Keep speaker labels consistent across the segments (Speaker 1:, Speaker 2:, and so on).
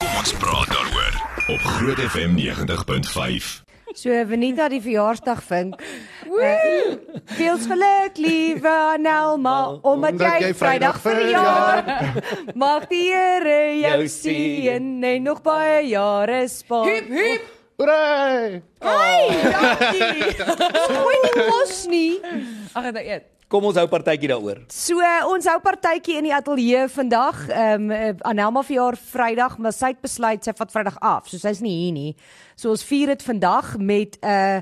Speaker 1: Ons praat daaroor op Groot FM 90.5.
Speaker 2: So Venita die verjaarsdag vink. Uh, Veel geluk liewe Anelma Ja, omdat
Speaker 3: omdat
Speaker 2: jy
Speaker 3: jy
Speaker 2: Vrydag
Speaker 3: Vrydag
Speaker 2: verjaar. Mag die Here jou
Speaker 4: Jou
Speaker 2: seën en nog baie jare spaar.
Speaker 4: Hup.
Speaker 3: Hooray!
Speaker 2: Dankie. Gooi nie mos nie.
Speaker 4: Ag, dit eet. Kom ons hou partytjie daaroor.
Speaker 2: So uh, ons hou partytjie in die ateljee vandag. Ehm um, Anelma verjaar Vrydag, maar sy het besluit sy vat Vrydag af, so sy's nie hier nie. So ons vier dit vandag met 'n uh,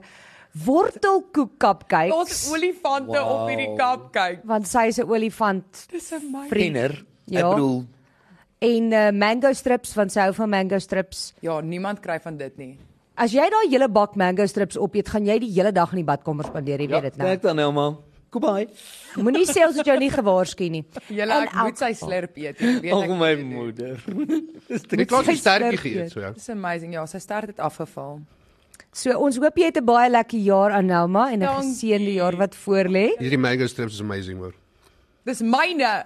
Speaker 2: wortelkoek cupcake
Speaker 5: Ons olifante
Speaker 4: Wow.
Speaker 5: op hierdie kap kyk.
Speaker 2: want sy is 'n olifant
Speaker 5: Dis amazing.
Speaker 2: Vriend.
Speaker 4: Kenner.
Speaker 2: Ja.
Speaker 4: Ek bedoel,
Speaker 2: en uh, mango strips want sy hou van mango strips.
Speaker 5: Ja, niemand kry van dit nie.
Speaker 2: As jy daai hele bak mango strips opeet, gaan jy die hele dag in die badkamer spandeer, jy
Speaker 4: ja,
Speaker 2: weet dit nou.
Speaker 4: kyk dan nou maar. Goodbye.
Speaker 2: Moenie sê ons het jou nie gewaarsku nie.
Speaker 5: Julle
Speaker 2: En
Speaker 5: ek moet sy slurp eet. Ek weet
Speaker 4: Ag
Speaker 5: ek.
Speaker 4: my moeder. Dis
Speaker 3: Net laat jy sterkie gee
Speaker 2: Geëet.
Speaker 3: so.
Speaker 5: Dis amazing. Ja, sy stert het afgeval.
Speaker 2: So ons hoop jy het 'n baie lekker jaar aan Nouma en 'n
Speaker 5: Dankie.
Speaker 2: geseënde jaar wat voorlê.
Speaker 3: Hierdie mango strips is amazing hoor.
Speaker 5: Dis myne.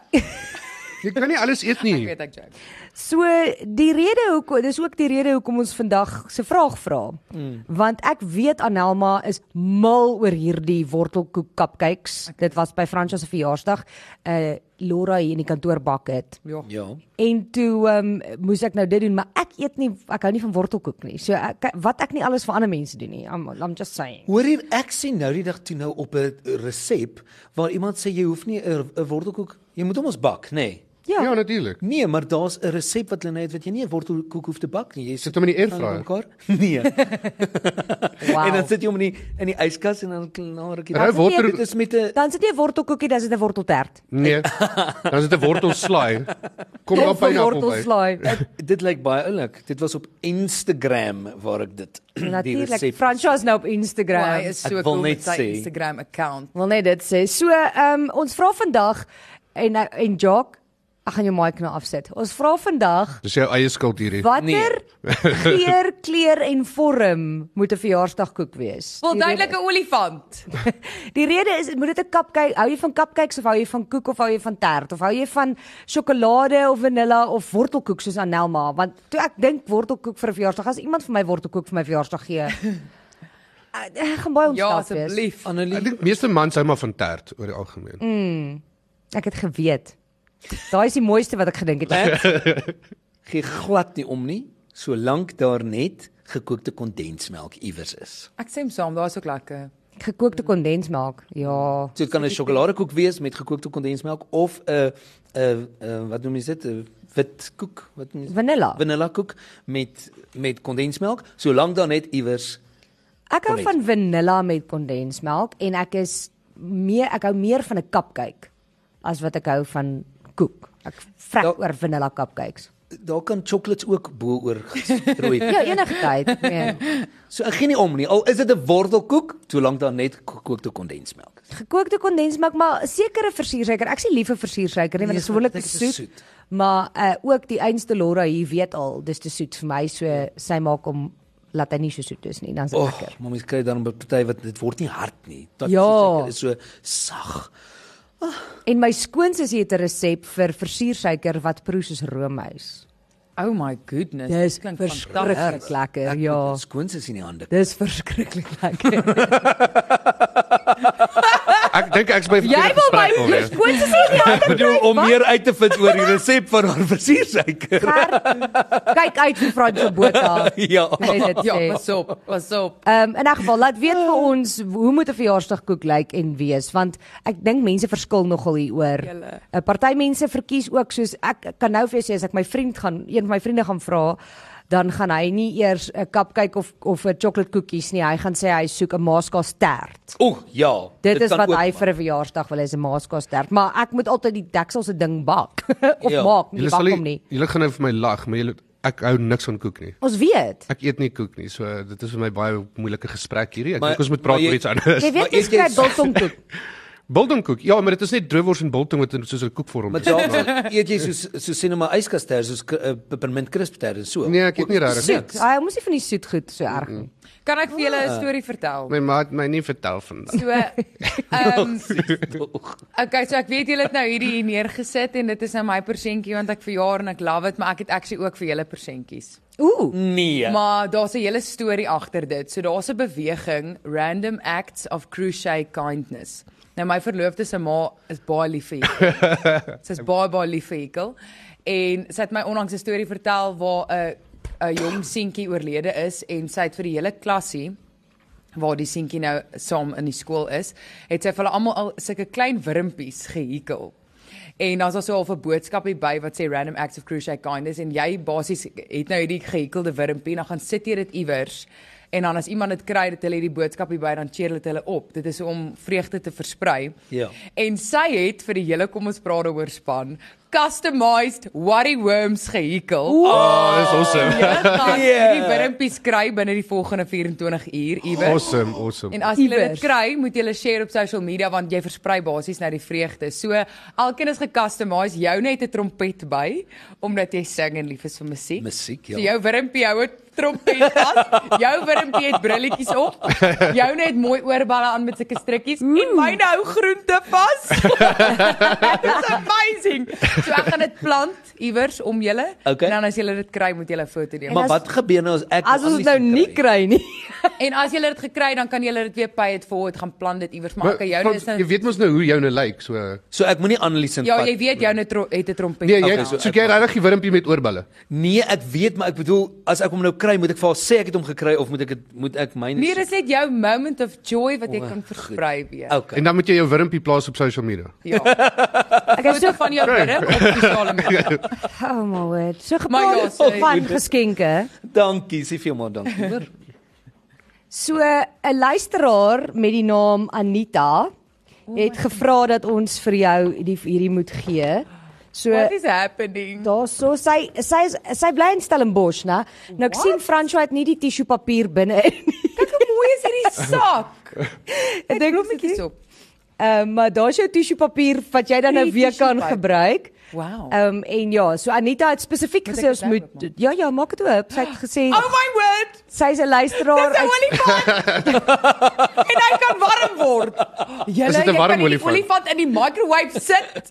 Speaker 3: Jy kan nie alles eet
Speaker 5: Ek
Speaker 3: nie.
Speaker 5: weet ek joke.
Speaker 2: So die rede hoekom dis ook die rede hoekom ons vandag se vraag vra. Mm. Want ek weet Anelma is mal oor hierdie wortelkoek cupcakes. Okay. Dit was by Fransja se verjaarsdag. Uh Laura hier in die kantoor bak dit.
Speaker 5: Ja.
Speaker 4: Ja.
Speaker 2: En toe ehm um, moes ek nou dit doen, maar ek eet nie ek hou nie van wortelkoek nie. So ek, wat ek nie alles vir ander mense doen nie. I'm, I'm just saying.
Speaker 4: Hoor hier, ek sien nou die dag toe nou op 'n resep waar iemand sê jy hoef nie 'n 'n wortelkoek, jy moet hom ons bak, nê? Nee.
Speaker 2: Ja.
Speaker 3: Ja,
Speaker 2: ja
Speaker 3: natuurlik.
Speaker 4: Nee, maar daar's 'n resep wat hulle nou het wat jy nie 'n wortelkoek hoef te bak nie. Jy
Speaker 3: Sit hom in die airfryer.
Speaker 4: airfryer. Nee.
Speaker 2: wow.
Speaker 4: En dan sit jy hom in die in die yskas en dan klaar ek
Speaker 3: Rou
Speaker 2: wortel-
Speaker 4: Dit is met 'n
Speaker 2: dan sit jy 'n wortelkoekie, dan sit 'n worteltert.
Speaker 3: Nee. Dan is dit 'n wortelslaai. Kom
Speaker 4: Ja,
Speaker 3: dan
Speaker 2: Of 'n
Speaker 3: pineappel by.
Speaker 2: wortelslaai.
Speaker 4: dit lyk baie oulik. Dit was op Instagram waar ek dit die
Speaker 2: Natuurlik.
Speaker 4: resep
Speaker 2: Fransja is nou op
Speaker 5: Sy
Speaker 2: Instagram.
Speaker 5: is so
Speaker 4: Ek wil
Speaker 5: cool
Speaker 4: net
Speaker 5: met sy
Speaker 4: sê-
Speaker 5: Instagram account.
Speaker 2: Wil net dit sê. So, ehm um, ons vra vandag en en Jock, ek gaan jou mic nou afsit. Ons vra vandag
Speaker 3: Dis jou eie skuld hierdie.
Speaker 2: watter geur, kleur en vorm moet 'n verjaarsdagkoek wees?
Speaker 5: Wel
Speaker 2: Die rede-
Speaker 5: duidelik 'n olifant.
Speaker 2: Die rede is moet dit 'n cupcake, hou jy van cupcakes of hou jy van koek of hou jy van tert of hou jy van sjokolade of vanilla of wortelkoek soos Anelma? Want toe ek dink wortelkoek vir 'n verjaarsdag, as iemand vir my wortelkoek vir my verjaarsdag gee, ek, ek gaan baie
Speaker 5: Ja,
Speaker 2: ontstel wees.
Speaker 5: asseblief.
Speaker 3: Ek
Speaker 4: Annelie
Speaker 3: dink meeste mans hou maar van tert oor die algemeen. Mm.
Speaker 2: Ek het geweet. Daai is die mooiste wat ek gedink het.
Speaker 4: gee glad nie om nie, solank daar net gekookte kondensmelk iewers is.
Speaker 5: Ek sê hom saam, daar's ook lekker.
Speaker 2: Gekookte kondensmelk. Ja.
Speaker 4: So dit kan 'n sjokoladekoek wees met gekookte kondensmelk of 'n 'n 'n wat noem jy dit? 'n wit koek, wat noem jy?
Speaker 2: Vanilla.
Speaker 4: Vanilla koek met met kondensmelk, solank daar net iewers
Speaker 2: Ek hou van vanilla met kondensmelk en ek is meer ek hou meer van 'n cupcake as wat ek hou van koek. Ek vrek
Speaker 4: Ja.
Speaker 2: oor vanilla cupcakes.
Speaker 4: daar kan chocolates ook bo oor gestrooi.
Speaker 2: Ja, enige tyd. Nee.
Speaker 4: So ek gee nie om nie. Al is dit 'n wortelkoek, solank daar net gekookte kondensmelk is.
Speaker 2: Gekookte kondensmelk, maar sekere versuursuiker. Ek sê lief vir versuursuiker nie, want dit is
Speaker 4: Nee,
Speaker 2: gewoonlik
Speaker 4: want
Speaker 2: te
Speaker 4: ek dink dit
Speaker 2: soet.
Speaker 4: is
Speaker 2: soet.
Speaker 4: soet.
Speaker 2: Maar uh ook die einste Laura hier weet al, dis te soet vir my, so sy maak hom laat hy nie so soet is nie, dan is dit
Speaker 4: O,
Speaker 2: lekker.
Speaker 4: oh, maar mens kry dan 'n party wat dit word nie hard nie. Dat
Speaker 2: Ja.
Speaker 4: is so sag.
Speaker 2: En my skoonsis het 'n resep vir versuursuiker wat proe soos roomys.
Speaker 5: Oh my goodness.
Speaker 2: Dis
Speaker 5: dit klink
Speaker 2: verskriklik
Speaker 5: fantasties.
Speaker 2: lekker.
Speaker 4: Ek
Speaker 2: Ja.
Speaker 4: moet skoons is in die hande.
Speaker 2: Dis verskriklik lekker.
Speaker 3: Ek dink ek's by
Speaker 2: Jy
Speaker 3: verkeerde
Speaker 2: wil my
Speaker 3: gesprek
Speaker 2: moeder
Speaker 3: alweer.
Speaker 2: skoon sê nie hande.
Speaker 4: Bedoel om meer uit te vind oor die resep van haar versiersuiker.
Speaker 2: Kyk uit vir Frans Botha.
Speaker 4: Ja.
Speaker 2: Hy dit
Speaker 5: Ja,
Speaker 2: sê.
Speaker 5: pas op. Pas op.
Speaker 2: Ehm um, in 'n geval laat weet vir
Speaker 4: Ah.
Speaker 2: ons hoe moet 'n verjaarsdagkoek lyk en wees want ek dink mense verskil nogal hieroor.
Speaker 5: Julle.
Speaker 2: 'n Party mense verkies ook soos ek kan nou vir jou sê as ek my vriend gaan een van my vriende gaan vra dan gaan hy nie eers 'n cupcake of of 'n chocolate koekies nie. Hy gaan sê hy soek 'n maaskaas tert.
Speaker 4: O, ja.
Speaker 2: Dit, dit is
Speaker 4: kan
Speaker 2: wat
Speaker 4: ook
Speaker 2: hy
Speaker 4: maar.
Speaker 2: vir 'n verjaarsdag wil hê, is 'n maaskaas tert. Maar ek moet altyd die deksel se ding bak of ja.
Speaker 4: Ja.
Speaker 2: maak, nie
Speaker 3: Julle sal
Speaker 2: bak hom nie.
Speaker 3: nie- julle gaan nou vir my lag, maar julle ek hou niks van koek nie.
Speaker 2: Ons weet.
Speaker 3: Ek eet nie koek nie, so dit is vir my baie moeilike gesprek hierdie. Ek
Speaker 4: Maar-
Speaker 3: dink ons moet praat
Speaker 4: maar jy-
Speaker 3: oor iets anders.
Speaker 2: Jy weet
Speaker 4: Maar
Speaker 2: nie
Speaker 4: eet jy
Speaker 2: skryf
Speaker 4: so-
Speaker 2: biltongkoek.
Speaker 3: Biltongkoek. Ja, maar dit is net droewors en biltong wat in soos 'n koekvorm
Speaker 4: Maar
Speaker 3: is.
Speaker 4: ja, eet jy so so sien maar yskaster, soos k- eh, peppermint crisp ter en so.
Speaker 3: Nee, ek eet nie
Speaker 4: Ja.
Speaker 3: regtig nie.
Speaker 2: Soet. Hy moes nie van die soet goed so erg nie.
Speaker 5: Kan ek vir julle 'n storie vertel?
Speaker 3: My ma het my nie vertel van dit.
Speaker 5: So ehm Okay, so ek weet julle het nou hierdie hier neergesit en dit is nou my persentjie want ek verjaar en ek love dit, maar ek het actually ook vir julle persentjies.
Speaker 2: Ooh.
Speaker 4: Nee.
Speaker 5: Maar daar's 'n hele storie agter dit. So daar's 'n beweging Random Acts of Crochet Kindness. Nou my verloofde se ma is baie lief vir hierdie. Sy's baie baie lief vir hierdie en sy het my onlangs 'n storie vertel waar 'n 'n jong seentjie oorlede is en sy het vir die hele klasie waar die seentjie nou saam in die skool is, het sy vir hulle almal al sulke klein wurmpies gehikel. En dan is daar so half 'n boodskapie by wat sê random acts of crochet kindness en jy basies het nou hierdie gehikelde wurmpie en dan gaan sit jy dit iewers en dan as iemand dit kry dat hulle hierdie boodskapie by dan cheer dit hulle op. Dit is om vreugde te versprei.
Speaker 4: Ja.
Speaker 5: En sy het vir die hele kom ons praat daaroor span customized worry worms gehikel.
Speaker 3: Oh, dis awesome.
Speaker 5: Jy gaan
Speaker 4: Yeah.
Speaker 5: hierdie wurmpies kry binne die volgende 24 uur iewers.
Speaker 3: Awesome, awesome.
Speaker 5: En as jy dit
Speaker 2: Iewers.
Speaker 5: kry, moet jy share op social media want jy versprei basies nou die vreugde. So elkeen is gekustomise, jou net 'n trompet by omdat jy sing en lief is vir musiek.
Speaker 4: Musiek, ja.
Speaker 5: So jou wurmpie hou 'n trompet vas. jou wurmpie het brilletjies op. Jou net mooi oorballe aan met sulke strikkies. En myne hou groente vas. It's amazing. So ek gaan dit plant iewers om julle
Speaker 4: Okay.
Speaker 5: en dan as julle dit kry, moet julle 'n foto neem.
Speaker 4: Maar
Speaker 2: as-
Speaker 4: wat gebeur nou as ek
Speaker 2: As ons dit nou nie kry nie.
Speaker 5: En as jy dit gekry dan kan jy dit weer pay it forward gaan plan dit iewers maar
Speaker 3: Maar,
Speaker 5: okay jou
Speaker 3: Frans,
Speaker 5: is nou
Speaker 3: jy weet mos nou hoe joune lyk, so
Speaker 4: So ek moenie Annelies in
Speaker 5: Ja, jy weet jou nou tro- het 'n trompet.
Speaker 3: Nee, jy
Speaker 5: Okay.
Speaker 4: so
Speaker 3: okay, soek jy
Speaker 4: ek-
Speaker 3: regtig die wurmpie met oorbulle.
Speaker 4: Nee, ek weet, maar ek bedoel as ek hom nou kry, moet ek vir haar sê ek het hom gekry of moet ek dit moet ek myne
Speaker 5: Nee, dis net jou moment of joy wat jy
Speaker 4: O,
Speaker 5: kan
Speaker 4: goed.
Speaker 5: versprei weer.
Speaker 4: Okay.
Speaker 3: En dan moet jy jou wurmpie plaas op social media.
Speaker 5: Ja.
Speaker 2: Ek
Speaker 5: Ek
Speaker 2: het so
Speaker 5: so van jou wurm op sosiale media.
Speaker 2: oh my word. So
Speaker 5: Maar ja,
Speaker 2: gepraat
Speaker 5: so-
Speaker 2: van geskenke.
Speaker 4: Dankie, sê vir my dankie hoor.
Speaker 2: So 'n luisteraar met die naam Anita het gevra dat ons vir jou die hierdie moet gee. So
Speaker 5: What is happening?
Speaker 2: Daar so sy sy is- sy bly in Stellenbosch, né? Nou ek
Speaker 5: What?
Speaker 2: sien Fransjo het nie die tissue papier binne in nie.
Speaker 5: Kyk hoe mooi is hierdie sak.
Speaker 2: Ek dink
Speaker 5: Blommetjies op.
Speaker 2: Ehm maar daar's jou tissue papier wat jy dan nou
Speaker 5: Die
Speaker 2: weer kan
Speaker 5: tissue papier.
Speaker 2: gebruik.
Speaker 5: Wow.
Speaker 2: Ehm en ja, so Anita het spesifiek
Speaker 5: Moet ek
Speaker 2: gesê ons
Speaker 5: dit
Speaker 2: moet
Speaker 5: oopmaak?
Speaker 2: ja ja, maak dit oop. Sy het gesê
Speaker 5: Oh my word.
Speaker 2: sy's 'n luisteraar
Speaker 5: Dis 'n
Speaker 2: uit
Speaker 5: olifant. en hy kan warm word. Julle,
Speaker 3: Is dit 'n
Speaker 5: jy kan
Speaker 3: warm
Speaker 5: die
Speaker 3: olifant?
Speaker 5: olifant in die microwave sit.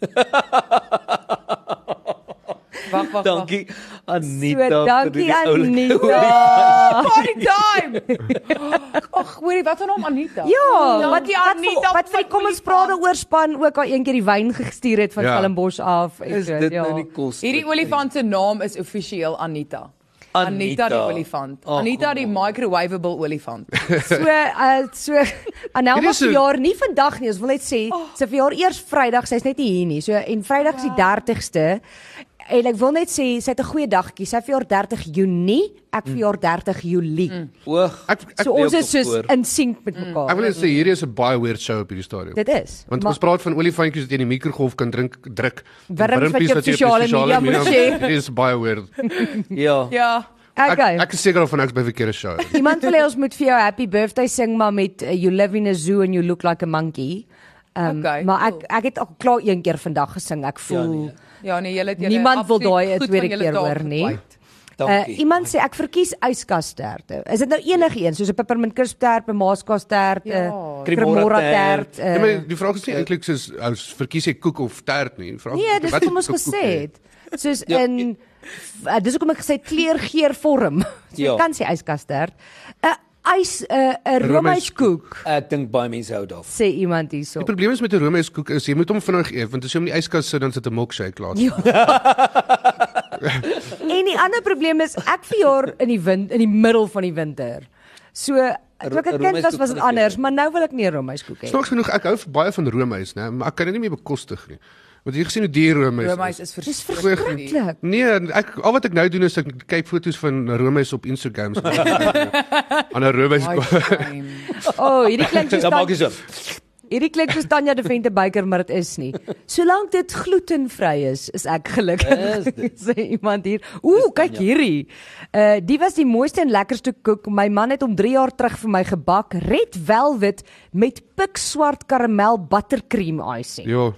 Speaker 5: Wag, wag, wag.
Speaker 4: Dankie Anita.
Speaker 2: So
Speaker 4: vir
Speaker 2: dankie
Speaker 4: die oulike-
Speaker 2: Anita.
Speaker 5: Party time. Ag, hoorie, wat van hom Anita?
Speaker 2: Ja, wat
Speaker 5: Dankie,
Speaker 2: wat vir- wat vir die kom ons praat oor span ook al een keer die wyn gestuur het van
Speaker 3: Ja.
Speaker 2: Stellenbosch af en
Speaker 4: Is
Speaker 2: so,
Speaker 4: dit
Speaker 2: ja.
Speaker 4: nou nie kos?
Speaker 5: Hierdie olifant se naam is offisieel Anita.
Speaker 4: Anita.
Speaker 5: Anita die olifant.
Speaker 4: Ag,
Speaker 5: Anita
Speaker 4: kom
Speaker 5: die
Speaker 4: aan.
Speaker 5: microwavable olifant.
Speaker 2: So uh so Anelma
Speaker 3: Hierdie
Speaker 2: se
Speaker 3: is so-
Speaker 2: verjaar nie vandag nie, ons wil net sê sy verjaar eers Vrydag, sy's net nie hier nie. So en Vrydag is die 30ste. En ek wil net sê sy het 'n goeie daggetjie. Sy verjaar 30 Junie, ek verjaar 30 Julie.
Speaker 4: Oog.
Speaker 3: Ek Mm. ek,
Speaker 2: So ons
Speaker 4: op
Speaker 2: is soos
Speaker 4: voor.
Speaker 2: in sync met
Speaker 3: ek
Speaker 2: mekaar.
Speaker 3: wil net sê hierdie is 'n baie weird show op hierdie stadium.
Speaker 2: Dit is.
Speaker 3: Want
Speaker 2: Maar-
Speaker 3: ons praat van olifantjies wat jy in die mikrogolf kan drink druk. en
Speaker 2: Wurms wat
Speaker 3: wurmpies
Speaker 2: jy op sosiale media moet share.
Speaker 3: Dit is baie weird.
Speaker 4: Ja.
Speaker 5: ja.
Speaker 3: Ek
Speaker 2: Okay.
Speaker 3: ek is seker of van ek's by verkeerde show.
Speaker 2: Iemand wil hê ons moet vir jou happy birthday sing maar met uh, you live in a zoo and you look like a monkey. Um,
Speaker 5: Okay,
Speaker 2: maar ek ek het al klaar een keer vandag gesing. Ek voel
Speaker 4: nee.
Speaker 5: Ja, nee, julle het julle
Speaker 2: Niemand wil
Speaker 5: absoluut
Speaker 2: daai 'n
Speaker 5: goed
Speaker 2: tweede
Speaker 5: van julle
Speaker 2: keer
Speaker 5: taak
Speaker 2: hoor nie.
Speaker 5: gekwyt.
Speaker 2: Uh,
Speaker 5: Eh,
Speaker 4: Dankie.
Speaker 2: iemand sê ek verkies yskasterte. Is dit nou enige een soos 'n peppermint crisp tert, 'n eh, maaskastert, 'n
Speaker 5: Ja.
Speaker 2: cremora tert?
Speaker 3: Ja,
Speaker 4: Nee,
Speaker 2: uh,
Speaker 3: maar die vraag is nie eintlik soos as verkies jy koek of tert nie. Die Vraag is,
Speaker 2: Nee, dis
Speaker 3: wat
Speaker 2: wat ons
Speaker 3: tipe koek
Speaker 2: gesê
Speaker 3: jy-
Speaker 2: het. Soos
Speaker 4: Ja,
Speaker 2: in uh, dis hoekom ek gesê het, kleur geur vorm. So jy
Speaker 4: Ja.
Speaker 2: kan sê yskastert. 'n Ys 'n 'n
Speaker 3: Roomys
Speaker 2: roomyskoek
Speaker 4: Ek dink baie mense hou daarvan.
Speaker 2: sê iemand hierso.
Speaker 3: Die probleem is met 'n roomys koek is jy moet hom vinnig eet want as jy hom in die yskas sit dan sit 'n milkshake klaar.
Speaker 2: Ja.
Speaker 4: Ja.
Speaker 2: en die ander probleem is ek verjaar in die wind in die middel van die winter. So toe ek 'n kind was
Speaker 4: roomyskoek
Speaker 2: was
Speaker 4: van
Speaker 2: dit
Speaker 4: die
Speaker 2: anders, maar nou wil ek nie 'n roomyskoek hê.
Speaker 3: Snaaks genoeg ek hou baie van roomys, né, maar ek kan dit nie meer bekostig nie. Want jy het gesien hoe duur roomys is.
Speaker 5: Romeis is
Speaker 2: Dis
Speaker 5: verskriklik.
Speaker 2: verskriklik.
Speaker 3: Nee, ek al wat ek nou doen is ek kyk foto's van roomys op Instagram. so- Aan 'n roomys
Speaker 5: My
Speaker 3: koek.
Speaker 5: shame.
Speaker 2: O, oh, hierdie klink soos
Speaker 4: Dan maak
Speaker 2: Tan-
Speaker 4: jy so.
Speaker 2: hierdie klink soos Tanya de Venter byker, maar dit is nie. Solank dit glutenvry is, is ek
Speaker 4: Is
Speaker 2: gelukkig.
Speaker 4: dit?
Speaker 2: Sê iemand hier. Ooh, kyk hierdie. Uh die was die mooiste en lekkerste koek. My man het hom 3 jaar terug vir my gebak, red velvet met pikswart karamel buttercream icing.
Speaker 3: Ja.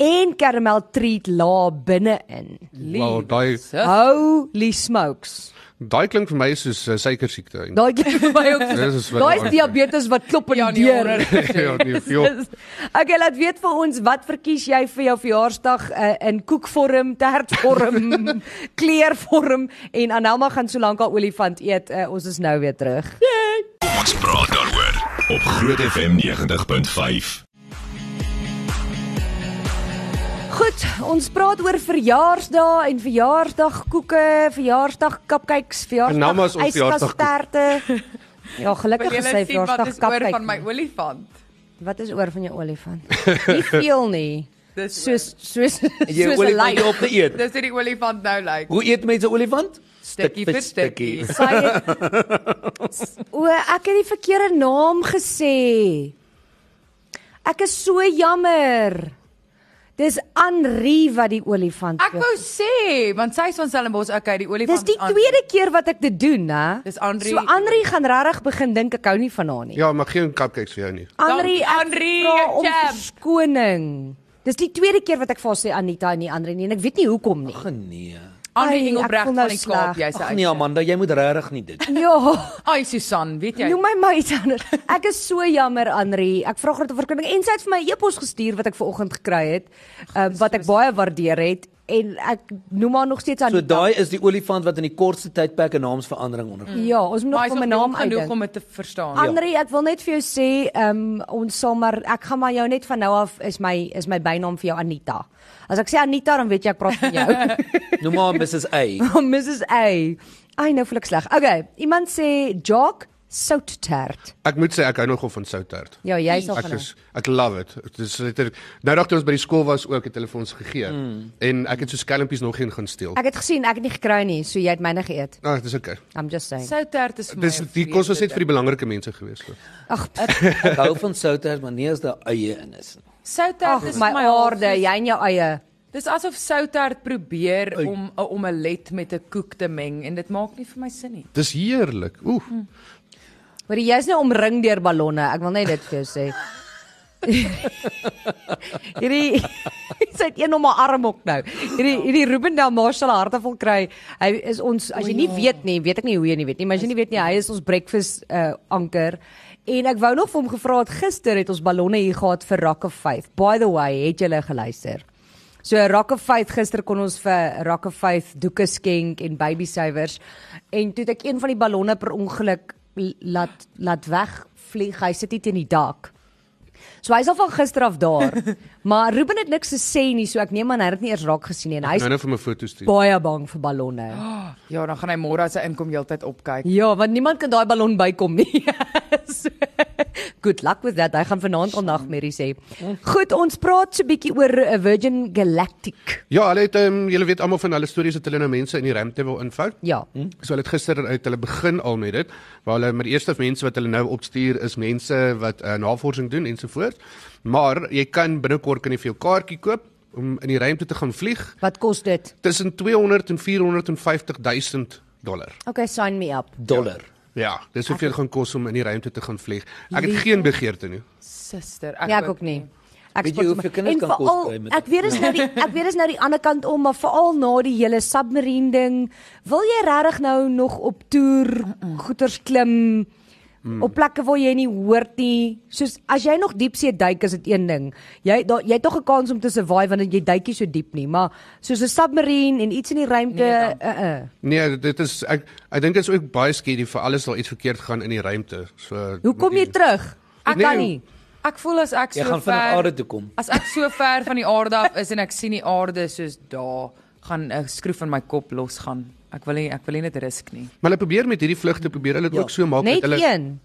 Speaker 2: en caramel treat la binne-in.
Speaker 3: Wel, daai
Speaker 5: Sus.
Speaker 2: Holy smokes.
Speaker 3: Daai klink vir my soos uh, suikersiekte.
Speaker 2: Daai klink vir my ook.
Speaker 3: Dit is wat
Speaker 2: Daai
Speaker 3: daar
Speaker 2: is diabetes wat klop in
Speaker 5: Ja,
Speaker 2: die
Speaker 5: nee,
Speaker 2: deur.
Speaker 5: onder.
Speaker 3: ja, nee, jo,
Speaker 2: Okay, laat weet vir ons wat verkies jy vir jou verjaarsdag uh, in koekvorm, tertvorm, kleurvorm en Anelma gaan solank haar olifant eet. Uh, ons is nou weer terug.
Speaker 1: Kom ons praat daaroor op Groot FM 90.5.
Speaker 2: Goed, ons praat oor verjaarsdae en verjaarsdagkoeke, verjaarsdag cupcakes,
Speaker 3: Anelma is
Speaker 2: verjaarsdag
Speaker 3: ons
Speaker 2: yskasterte. Ja,
Speaker 5: Wil
Speaker 2: gelukkig
Speaker 5: julle
Speaker 2: gesê
Speaker 5: sien wat
Speaker 2: verjaarsdag
Speaker 5: is oor van my
Speaker 2: cupcake.
Speaker 5: olifant?
Speaker 2: Wat is oor van jou olifant? Nie veel nie.
Speaker 5: Dis
Speaker 2: Soos soos
Speaker 4: Jy
Speaker 2: soos 'n
Speaker 4: olifant
Speaker 2: lyf.
Speaker 4: op te eet.
Speaker 5: Dis hoe die olifant nou lyk.
Speaker 4: Hoe eet mense olifant?
Speaker 5: Stukkie vir stukkie.
Speaker 2: Sy het O, ek het die verkeerde naam gesê. Ek is so jammer. Dis Anri wat die olifant
Speaker 5: Ek
Speaker 2: wil.
Speaker 5: wou sê, want sy is van Stellenbosch, okay, die olifant.
Speaker 2: Dis die
Speaker 5: is aan-
Speaker 2: tweede keer wat ek dit doen, hè.
Speaker 5: Dis Andri.
Speaker 2: So Anri gaan regtig begin dink ek hou nie van haar nie.
Speaker 3: ja, maar geen cupcakes vir jou nie.
Speaker 2: Anri,
Speaker 5: Dankie,
Speaker 2: ek
Speaker 5: Andri,
Speaker 2: vra
Speaker 5: jy
Speaker 2: om
Speaker 5: champ.
Speaker 2: verskoning. Dis die tweede keer wat ek vir haar sê Anita en nie Anri nie en ek weet nie hoekom nie.
Speaker 4: Genee.
Speaker 5: Anrie
Speaker 2: Ai, ek
Speaker 5: Engelbreg
Speaker 2: voel
Speaker 5: van
Speaker 2: nou
Speaker 5: die Kaap,
Speaker 2: sleg.
Speaker 5: jy's 'n
Speaker 4: Ag nee Amanda, jy moet regtig nie dit.
Speaker 2: Ja.
Speaker 5: Ai Susan, weet jy?
Speaker 2: Noem my maar iets anders. Ek is so jammer Anri. Ek vra groot verskoning en sy het vir my 'n e-pos gestuur wat ek ver oggend gekry het, uh, wat ek baie waardeer het en ek noem haar nog steeds aan.
Speaker 4: So daai is die olifant wat in die kortste tydperk 'n naamsverandering ondergaan.
Speaker 2: ja, ons moet nog
Speaker 5: Maar
Speaker 2: van
Speaker 5: is
Speaker 2: my
Speaker 5: nog
Speaker 2: naam
Speaker 5: jong genoeg
Speaker 2: uitdink.
Speaker 5: om dit te verstaan.
Speaker 2: Anri, ek wil net vir jou sê, ehm um, ons sal maar ek gaan maar jou net van nou af is my is my bynaam vir jou Anita. As ek sê Anita, dan weet jy ek praat van jou.
Speaker 4: Noem maar Mrs A.
Speaker 2: Van Mrs A. Ai, nou voel ek sleg. Okay, iemand sê Jock souttert.
Speaker 3: Ek moet sê ek hou nogal van soutert.
Speaker 2: Ja, jy sal
Speaker 3: Ek
Speaker 2: gaan.
Speaker 3: is ek love it. Dit is letterlik nou dag toe ons by die skool was ook het hulle vir ons gegee mm. en ek het so skelmpies nog geen gaan steel.
Speaker 2: Hmm. Ek het gesien, ek het nie gekry nie, so jy het myne geëet.
Speaker 3: Ag, Ah, dis okay.
Speaker 2: I'm just saying.
Speaker 5: Soutert is vir my.
Speaker 3: Dis die kos was net vir die belangrike mense gewees. So.
Speaker 5: uh,
Speaker 2: Ag,
Speaker 4: Ek hou van souters, maar nie as daar eie in is nie.
Speaker 5: Soutert
Speaker 2: ag
Speaker 5: is
Speaker 2: my
Speaker 5: vir my
Speaker 2: aarde,
Speaker 5: half soos-
Speaker 2: jy en jou eie.
Speaker 5: Dis asof soutert probeer
Speaker 4: Oei.
Speaker 5: om 'n omelet met 'n koek te meng en dit maak nie vir my sin nie.
Speaker 3: Dis heerlik. Oef.
Speaker 2: Maar jy's nou omring deur ballonne. Ek wil net dit vir jou sê. hierdie sy het een om haar arm ook nou. Hierdie hierdie Ruben Delmar sal 'n hartevol kry. Hy is ons as jy nie weet nie, weet ek nie hoe jy nie weet nie, maar as jy nie weet nie, hy is ons breakfast uh, anker. En ek wou nog vir hom gevra het gister het ons ballonne hier gehad vir Rock of 5. By the way, het julle geluister? So Rock of Faith gister kon ons vir Rock of Faith doeke skenk en baby showers en toe het ek een van die ballonne per ongeluk l- laat laat wegvlieg. Hy sit nie teen die dak. So hy's al van gister af daar. maar Ruben het niks gesê nie, so ek neem aan hy het dit nie eers raak gesien nie en hy's
Speaker 3: Nou nou vir my foto stuur.
Speaker 2: baie bang vir ballonne.
Speaker 5: Ja, dan gaan hy môre as hy inkom heeltyd opkyk.
Speaker 2: Ja, want niemand kan daai ballon bykom nie. so, good luck with that. Hy gaan vanaand al nagmerries hê. Goed, ons praat so 'n bietjie oor eh, Virgin Galactic.
Speaker 3: Ja, hulle het um, julle weet almal van hulle stories dat hulle nou mense in die ruimte wil invou.
Speaker 2: Ja.
Speaker 3: So hulle het gister uit hulle begin al met dit, waar hulle met die eerste mense wat hulle nou opstuur is mense wat uh, navorsing doen ensovoorts. Maar jy kan binnekort kan jy vir jou kaartjie koop om in die ruimte te gaan vlieg
Speaker 2: Wat kos dit?
Speaker 3: tussen 200 en 450 000 dollar.
Speaker 2: Okay, sign me up.
Speaker 4: Dollar.
Speaker 3: Ja, dis hoeveel gaan kos om in die ruimte te gaan vlieg. Ek het geen begeerte nie.
Speaker 5: Suster, ek
Speaker 2: Ja, ek ook nie. Ek
Speaker 4: Weet jy
Speaker 2: spot sommer-
Speaker 4: hoeveel kinders
Speaker 2: en
Speaker 4: kan kos
Speaker 2: veral-
Speaker 4: kry met
Speaker 2: Ek weet is nou die ek weet is nou die ander kant om, maar veral na die hele submarine ding, wil jy regtig nou nog op toer goeters klim?
Speaker 4: Mm.
Speaker 2: Op plekke waar jy nie hoort nie. Soos as jy nog diepsee duik is dit een ding. Jy daar jy het tog 'n kans om te survive want jy duik nie so diep nie, maar soos 'n submarine en iets in die ruimte,
Speaker 5: Nee,
Speaker 2: uh uh.
Speaker 3: Nee, dit is ek ek dink dit is ook baie skerry vir alles wat iets verkeerd gaan in die ruimte. So
Speaker 2: Hoe kom jy terug? Ek
Speaker 3: Nee.
Speaker 2: kan nie.
Speaker 5: Ek voel as ek so
Speaker 4: Jy
Speaker 5: ver
Speaker 4: gaan van die aarde toe kom.
Speaker 5: As ek so ver van die aarde af is en ek sien die aarde soos daar gaan 'n skroef in my kop losgaan. Ek wil nie ek wil nie dit risk nie.
Speaker 3: Maar hulle probeer met hierdie vlugte probeer hulle dit
Speaker 4: Ja.
Speaker 3: ook so maak
Speaker 2: Net
Speaker 3: dat hulle
Speaker 2: een.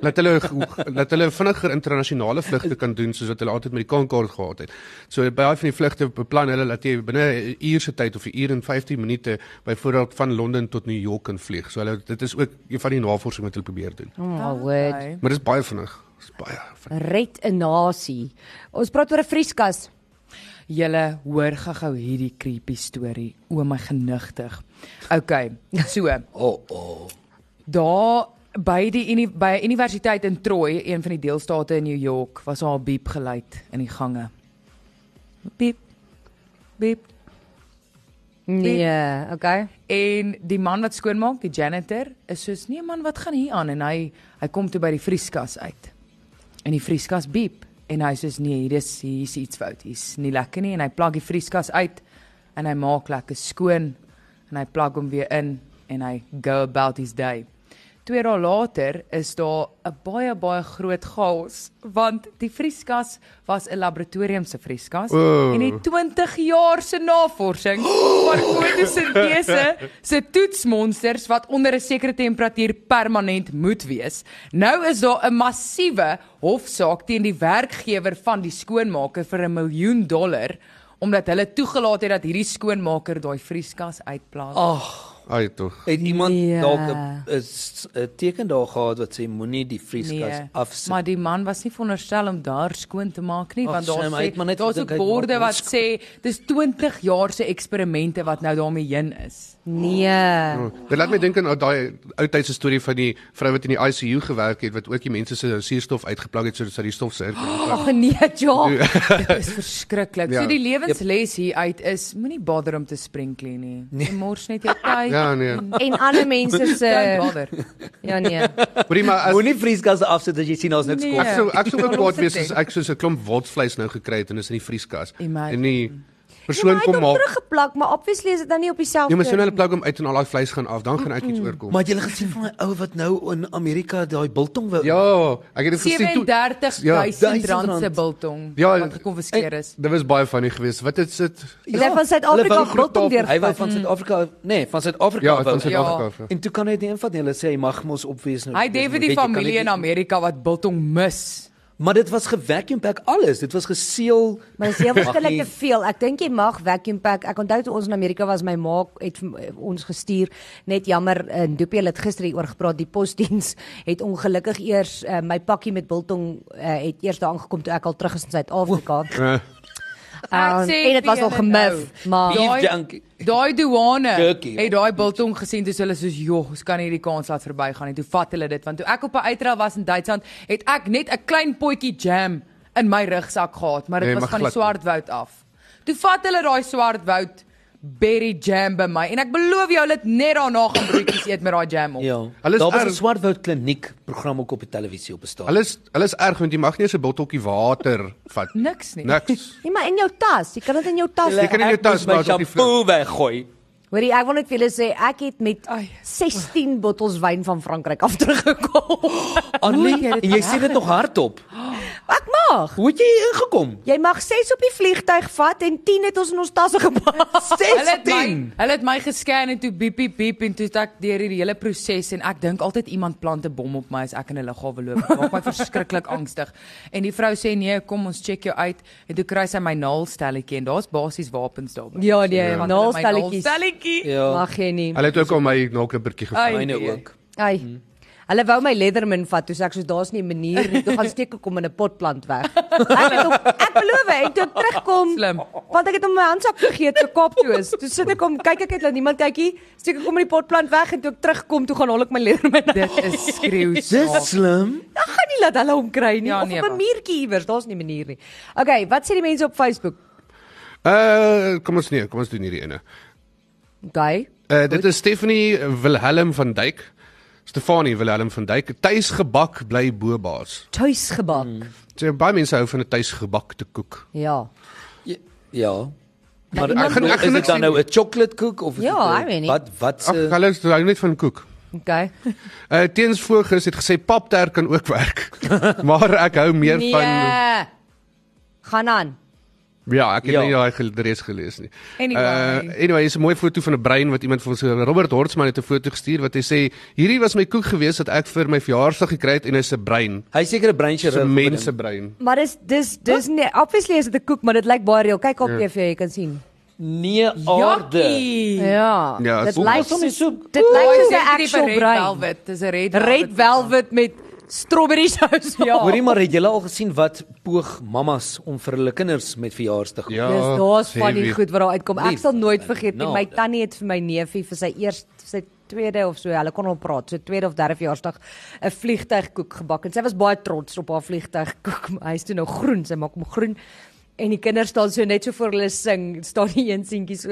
Speaker 3: dat hulle dat hulle vinniger internasionale vlugte kan doen soos wat hulle altyd met die Concorde gehad het. So baie van die vlugte beplan hulle dat jy binne 'n uur se tyd of 'n uur en 15 minute byvoorbeeld van Londen tot New York kan vlieg. So hulle dit is ook een van die navorsing wat hulle probeer doen.
Speaker 2: Oh my word.
Speaker 5: Okay.
Speaker 3: Maar dit is baie vinnig. Dit is baie vinnig.
Speaker 2: Red 'n nasie. Ons praat oor 'n vrieskas.
Speaker 5: Julle hoor gou-gou hierdie creepy storie. O my genigtig. Okay, so
Speaker 4: O, oh, o. Oh.
Speaker 5: daar by die uni, by 'n universiteit in Troy, een van die deelstate in New York, was daar 'n biep geluid in die gange. Biep. Biep.
Speaker 2: Nee, okay.
Speaker 5: En die man wat skoonmaak, die janitor, is soos nee man, wat gaan hier aan? En hy hy kom toe by die vrieskas uit. En die vrieskas biep en hy sê nee, hier is hier is iets fout. Hier's nie lekker nie en hy plak die vrieskas uit en hy maak lekker skoon en hy plak hom weer in en hy go about his day. Twee dae later is daar 'n baie baie groot chaos want die vrieskas was 'n laboratorium se vrieskas
Speaker 3: Oh.
Speaker 5: en het 20 jaar se navorsing van fotosintese se toetsmonsters wat onder 'n sekere temperatuur permanent moet wees. Nou is daar 'n massiewe hofsaak teen die werkgewer van die skoonmaker vir 'n miljoen dollar omdat hulle toegelaat het dat hierdie skoonmaker daai vrieskas uitplaas.
Speaker 3: Ai tog.
Speaker 4: Het iemand
Speaker 5: Ja.
Speaker 2: Nee.
Speaker 4: dalk 'n- 'n s- 'n teken daar gehad wat sê moenie die vrieskas
Speaker 5: Nee,
Speaker 4: afsit.
Speaker 5: Maar die man was nie veronderstel om daar skoon te maak nie,
Speaker 4: Ag,
Speaker 5: want daar
Speaker 4: slim, hy het maar
Speaker 5: sê
Speaker 4: net
Speaker 5: daar's
Speaker 4: gedink
Speaker 5: ook
Speaker 4: hy
Speaker 5: borde
Speaker 4: maak
Speaker 5: wat
Speaker 4: ons
Speaker 5: sê dis 20 jaar se eksperimente wat nou daarmee heen is.
Speaker 2: Nee.
Speaker 3: Oh, Dit laat my dink aan ou daai ou tyd se storie van die vrou wat in die ICU gewerk het wat ook die mense se suurstof uitgeplak het sodat die stof sirkel.
Speaker 2: Ag nee, ja.
Speaker 5: Dit is verskriklik.
Speaker 3: Ja.
Speaker 5: So die lewensles hier uit is moenie bother om te sprinkle nie. Jy mors net jou tyd. eh,
Speaker 3: Ja nee.
Speaker 2: En ander mense
Speaker 5: Don't
Speaker 2: se
Speaker 5: bother.
Speaker 2: Ja nee.
Speaker 3: Hoorie maar as
Speaker 4: Moenie vrieskas afsit as jy sien daar's niks
Speaker 5: Nee.
Speaker 4: nee.
Speaker 5: Ja.
Speaker 4: kom.
Speaker 3: Ek sou ek sou ook
Speaker 5: Los
Speaker 3: kwaad
Speaker 5: dit
Speaker 3: wees
Speaker 5: net.
Speaker 3: as ek soos 'n klomp wotsvleis nou gekry het en is in die vrieskas.
Speaker 5: Imagine. Ja,
Speaker 3: En die persoon kom
Speaker 2: maar.
Speaker 3: maak.
Speaker 2: teruggeplak, maar obviously is dit nou nie op dieselfde.
Speaker 3: Ja, maar sien hulle plug hom uit en al daai vleis gaan af, dan gaan ek iets oorkom.
Speaker 4: Maar het jy gesien van 'n ou wat nou in Amerika daai biltong wou
Speaker 3: Ja, ek het dit gesien toe.
Speaker 5: 37000
Speaker 4: Ja.
Speaker 5: rand se biltong
Speaker 3: Ja,
Speaker 5: wat gekonfiskeer is.
Speaker 3: Dit was baie funny geweest. Wat is dit?
Speaker 2: Hulle
Speaker 4: Ja.
Speaker 2: het van Suid-Afrika
Speaker 4: hulle wou-
Speaker 2: biltong deur-
Speaker 4: Hy wou van Suid-Afrika, nee, van Suid-Afrika.
Speaker 3: Ja,
Speaker 4: wou-
Speaker 3: van Suid-Afrika.
Speaker 4: En toe kan hy dit nie invat nie. Hulle sê hy mag mos opwees nou.
Speaker 5: Hy het
Speaker 4: Dis
Speaker 5: vir
Speaker 4: moet
Speaker 5: die
Speaker 4: weet, jy kan
Speaker 5: familie
Speaker 4: dit
Speaker 5: in
Speaker 4: nie-
Speaker 5: Amerika wat biltong mis.
Speaker 4: Maar dit was gevacuum pack alles. Dit was geseël.
Speaker 2: Maar dis heel waarskynlik
Speaker 4: Mag
Speaker 2: te
Speaker 4: nie.
Speaker 2: veel. Ek dink jy mag vacuum pack. Ek onthou toe ons in Amerika was, my ma het vir ons gestuur. Net jammer, en uh, Doopie het gister hieroor gepraat. Die posdiens het ongelukkig eers uh, my pakkie met biltong uh, het eers daar aangekom toe ek al terug is in Suid-Afrika.
Speaker 3: Eh,
Speaker 2: Um,
Speaker 5: Ek sê
Speaker 2: en dit was
Speaker 5: vir
Speaker 2: al
Speaker 5: julle
Speaker 2: gemif, maar
Speaker 5: Ja.
Speaker 4: Beef
Speaker 5: Daai-
Speaker 4: junkie.
Speaker 5: Daai douane
Speaker 4: Turkey.
Speaker 5: het daai biltong gesien dis hulle soos joh, ons kan hierdie kans laat verbygaan en toe vat hulle dit want toe ek op 'n uitreil was in Duitsland het ek net 'n klein potjie jam in my rugsak gehad, maar dit
Speaker 3: Nee,
Speaker 5: was van
Speaker 3: maar
Speaker 5: die
Speaker 3: glad nie.
Speaker 5: Swartwoud af. Toe vat hulle daai Swartwoud berry jam by my en ek beloof jou hulle het net daarna gaan broodjies eet met daai jam op.
Speaker 4: Ja.
Speaker 3: Hulle is
Speaker 4: Daar was
Speaker 3: erg.
Speaker 4: 'n Swartwoud kliniek program ook op die televisie op bestaan.
Speaker 3: Hulle is hulle is erg want jy mag nie eens 'n botteltjie water vat nie.
Speaker 5: Niks nie.
Speaker 3: Niks.
Speaker 2: Nee, maar in jou tas. Jy kan dit in jou tas.
Speaker 3: Jy kan nie nou jou tas maar op die vloer.
Speaker 4: shampoo weggooi.
Speaker 2: Hoorie, ek wil net vir julle sê ek het met
Speaker 5: Ai.
Speaker 2: 16 bottels wyn van Frankryk af teruggekom.
Speaker 5: Hoe
Speaker 4: Annelie,
Speaker 5: het jy dit
Speaker 4: en jy sê dit
Speaker 5: geregtig?
Speaker 4: nog hardop.
Speaker 2: ek mag.
Speaker 4: Hoe het jy hier ingekom?
Speaker 2: Jy mag 6 op die vliegtyg vat en 10 het ons in ons tasse gepas.
Speaker 5: Hulle het my,
Speaker 4: 16.
Speaker 5: hulle het my gescan en toe biep biep biep en toe het ek deur hierdie hele proses en ek dink altyd iemand plant 'n bom op my as ek in 'n lughawe loop. Dit maak my verskriklik angstig. En die vrou sê nee, kom ons check jou uit. En toe kry sy my naalstelletjie en daar's basies wapens daarby.
Speaker 2: Ja nee, ja. naalstalletjies.
Speaker 5: Naalstelletjie.
Speaker 4: Ja.
Speaker 2: Mag jy nie.
Speaker 3: Hulle het ook al my nokkerbertjie gevat.
Speaker 5: Ai,
Speaker 4: Myne
Speaker 5: nee.
Speaker 4: ook.
Speaker 2: Ai. Hulle wou my Leatherman vat, toe sê ek soos daar's nie 'n manier nie. Toe gaan steek ek hom in 'n potplant weg. Ek het hom ek beloof ek toe ek terugkom,
Speaker 5: Slim.
Speaker 2: want ek het hom in my handsak vergeet vir Kaap toe is. Toe sit ek hom, kyk ek het laat niemand kykie, steek ek hom in die potplant weg en toe ek terugkom, toe gaan hol ek my Leatherman.
Speaker 5: Dit is skreeu.
Speaker 4: Dis slim.
Speaker 2: Ek gaan nie laat hulle hom kry nie
Speaker 5: Ja,
Speaker 2: of
Speaker 5: nee,
Speaker 2: op 'n
Speaker 5: maar.
Speaker 2: muurtjie iewers, daar's nie 'n manier nie. Okay, wat sê die mense op Facebook?
Speaker 3: Uh kom ons nee, kom ons doen hierdie ene.
Speaker 2: Okay.
Speaker 3: Uh dit is Stephanie Wilhelm van Dyk. Stefanie Wilhelm van Dyk. Tuisgebak bly bo baas.
Speaker 2: Tuisgebak. Mm.
Speaker 3: So baie mense hou van 'n tuisgebakte koek.
Speaker 2: Ja.
Speaker 4: Ja. ja. Maar
Speaker 3: iemand- Ek gaan- ek
Speaker 4: ek
Speaker 3: gaan
Speaker 4: gaan dit
Speaker 3: niks
Speaker 4: dan
Speaker 3: sê
Speaker 4: nou 'n chocolate koek of is
Speaker 2: Ja,
Speaker 4: dit, eh,
Speaker 2: I weet nie.
Speaker 4: wat wat
Speaker 3: Ag,
Speaker 4: se
Speaker 3: hulle hou net van koek.
Speaker 2: Okay.
Speaker 3: Uh teens voorgis het gesê papter kan ook werk. maar ek hou meer van
Speaker 2: Nee. Gaan aan.
Speaker 3: ja, ek het
Speaker 4: Ja.
Speaker 3: nie daai gel- reeds gelees nie.
Speaker 5: Anyway.
Speaker 3: uh, anyway is 'n mooi foto van 'n brein wat iemand vir ons eh, Robert Hortsman het 'n foto gestuur wat hy sê hierdie was my koek gewees wat ek vir my verjaarsdag gekry het en hy's 'n brein.
Speaker 4: Hy is seker 'n breinse
Speaker 3: Dis 'n
Speaker 4: rug.
Speaker 3: mense brein.
Speaker 2: Maar dis dis dis nee, obviously is dit 'n koek, maar dit lyk baie reël. Kyk op
Speaker 3: Ja.
Speaker 2: TV, jy kan sien.
Speaker 4: Nee, aarde.
Speaker 5: Jokkie.
Speaker 2: Ja.
Speaker 3: Ja,
Speaker 2: dit
Speaker 3: soms-
Speaker 2: lyk
Speaker 4: soms is
Speaker 2: soos
Speaker 4: so-
Speaker 2: dit lyk
Speaker 5: Hy
Speaker 2: soos
Speaker 5: sê
Speaker 2: 'n
Speaker 5: dit is
Speaker 2: actual
Speaker 5: red
Speaker 2: brein.
Speaker 5: velvet, Ja, dis 'n red
Speaker 2: Red
Speaker 5: velvet.
Speaker 2: velvet met strawberry sous. Ja.
Speaker 4: Hoorie maar het julle al gesien wat poog mammas om vir hulle kinders met verjaarsdag?
Speaker 3: Ja.
Speaker 2: Dis daar's
Speaker 3: sê
Speaker 2: van
Speaker 3: wie. Nee,
Speaker 2: die goed wat daar uitkom. Ek
Speaker 4: Lief,
Speaker 2: sal nooit vergeet nie.
Speaker 4: nou.
Speaker 2: My tannie het vir my neefie vir sy eers sy tweede of so, hulle kon al praat, so tweede of derde verjaarsdag 'n vliegtygkoek gebak en sy was baie trots op haar vliegtygkoek. Hy's toe nou groen, sy maak hom groen. En die kinders staan so net so voor hulle sing, staan die een seentjie so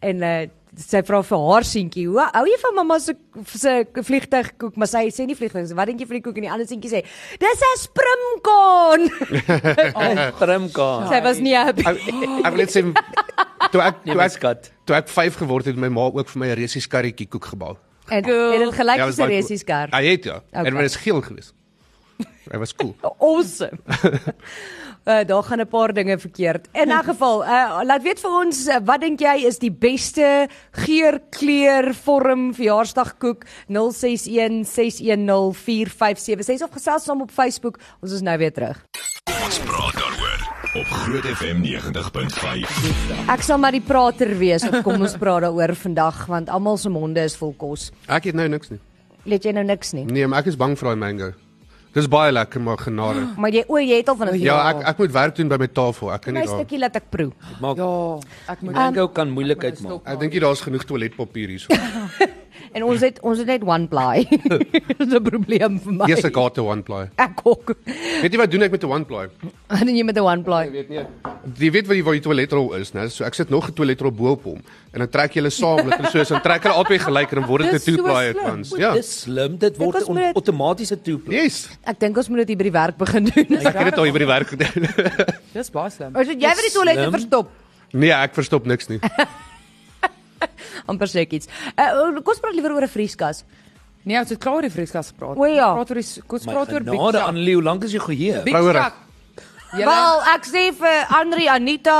Speaker 2: en uh sy vra vir haar seentjie, "Hoe hou jy van mamma se se vliegtygkoek?" Maar sy sê nie vliegtyg, so, "Wat dink jy van die koek?" En die ander seentjie sê, "Dis 'n sprimkaan."
Speaker 4: Primka.
Speaker 2: sy was nie happy.
Speaker 3: Ek ek wil net sê toe ek
Speaker 4: Nee,
Speaker 3: toe
Speaker 4: my
Speaker 3: ek
Speaker 4: skat.
Speaker 3: toe ek 5 geword het, het my ma ook vir my 'n resies karretjie koek gebou.
Speaker 2: En en dit gelyk
Speaker 3: Ja,
Speaker 2: is
Speaker 3: was
Speaker 2: 'n
Speaker 3: baie
Speaker 2: resies
Speaker 3: cool.
Speaker 2: kar.
Speaker 3: Hy het ja.
Speaker 2: Okay.
Speaker 3: En hy was geel geweest. Hy was cool.
Speaker 2: Awesome. uh, daar gaan 'n paar dinge verkeerd. In 'n geval, uh, laat weet vir ons uh, wat dink jy is die beste geur, kleur, vorm verjaarsdagkoek 0616104576 of gesels saam op Facebook. Ons is nou weer terug.
Speaker 1: Ons praat daaroor op Groot FM 90.5.
Speaker 2: Ek sal maar die prater wees of kom ons praat daaroor vandag want almal se monde is vol kos.
Speaker 3: Ek het nou niks nie.
Speaker 2: Let jy nou niks nie.
Speaker 3: Nee, maar ek is bang vir daai mango. Dis baie lekker maar genade.
Speaker 2: Maar jy o, jy het al van dit.
Speaker 3: Ja, ek ek moet werk doen by my tafel. Ek kan nie
Speaker 2: my
Speaker 3: daar.
Speaker 2: stukkie laat ek proe.
Speaker 4: Maak
Speaker 5: Ja, ek moet
Speaker 4: Mango kan moeilikheid maak.
Speaker 5: stop.
Speaker 3: Ek dink nie daar's genoeg toiletpapier hierso.
Speaker 2: En ons het ons het net one ply. Dis 'n probleem vir my.
Speaker 3: Eers 'n kaarte one ply.
Speaker 2: Ek ook.
Speaker 3: Weet jy wat doen ek met 'n one ply?
Speaker 2: Wat doen jy met 'n one ply?
Speaker 3: weet nie. Jy weet wat die waar die toiletrol is, né? So ek sit nog 'n toiletrol bo op hom en dan trek jy hulle saam, dat hulle so is, dan trek hulle albei gelyk en dan word dit 'n
Speaker 5: Dis
Speaker 3: two
Speaker 5: so
Speaker 3: ply
Speaker 5: slim.
Speaker 3: tans.
Speaker 4: Ja.
Speaker 3: Ja.
Speaker 4: Dis slim, dit word
Speaker 2: was
Speaker 4: 'n on-
Speaker 2: met-
Speaker 4: outomatiese toeplek.
Speaker 3: Yes.
Speaker 2: Ek dink ons moet dit hier by die werk begin doen.
Speaker 3: Ek het dit al hier by die werk gedoen.
Speaker 5: Dis baie slim.
Speaker 2: Ons het jy vir die toilette
Speaker 4: Slim.
Speaker 2: verstop.
Speaker 3: Nee, ek verstop niks nie.
Speaker 2: amper seker iets. Uh, kom ons praat liewer oor 'n vrieskas.
Speaker 5: Nee, ons het klaar oor die vrieskas gepraat.
Speaker 2: O, ja.
Speaker 5: Praat oor die s- kom ons
Speaker 4: My
Speaker 5: praat oor ja. Big
Speaker 4: genade,
Speaker 5: Shack.
Speaker 4: Annelie, hoe lank is jy geheue?
Speaker 5: Big
Speaker 3: Vrouerig.
Speaker 5: Shack. Julle
Speaker 2: Wel, ek sê vir Andri Anita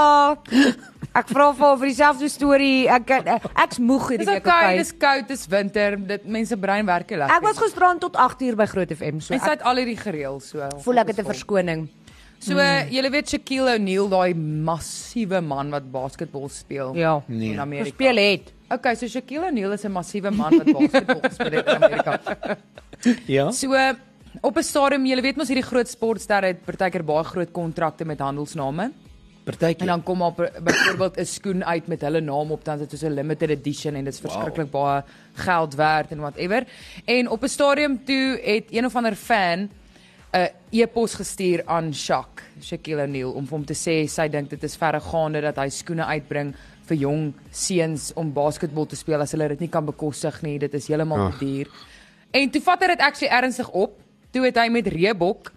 Speaker 2: Ek vra vir haar vir dieselfde storie. Ek kan- eh, ek's moeg hierdie
Speaker 5: Dis
Speaker 2: week.
Speaker 5: okay,
Speaker 2: Okay,
Speaker 5: dis koud, dis winter, dit mense brein werk nie lekker.
Speaker 2: ek was gisteraan tot 8 uur by Groot FM, so
Speaker 5: Mense
Speaker 2: ek
Speaker 5: het al hierdie gereël so.
Speaker 2: voel ek het 'n Hmm. verskoning.
Speaker 5: So mm. jy weet Shaquille O'Neal, daai massiewe man wat basketbal speel
Speaker 2: Ja.
Speaker 5: in Amerika.
Speaker 2: Gespeel het.
Speaker 5: Okay, so Shaquille O'Neal is 'n massiewe man wat basketbal speel het in Amerika.
Speaker 4: Ja.
Speaker 5: So op 'n stadium, jy weet mos hierdie groot sportsterre het partykeer baie groot kontrakte met handelsname. En
Speaker 4: Partytjie.
Speaker 5: dan kom op byvoorbeeld 'n skoen uit met hulle naam op, dan is dit soos 'n limited edition en dit is verskriklik baie geld werd en whatever. En op 'n stadium toe het een of ander fan 'n e-pos gestuur aan Shaq, Shaquille O'Neal om vir hom te sê sy dink dit is verregaande dat hy skoene uitbring vir jong seuns om basketbal te speel as hulle dit nie kan bekostig nie, dit is heeltemal te duur. En toe vat hy dit actually ernstig op. Toe het hy met Reebok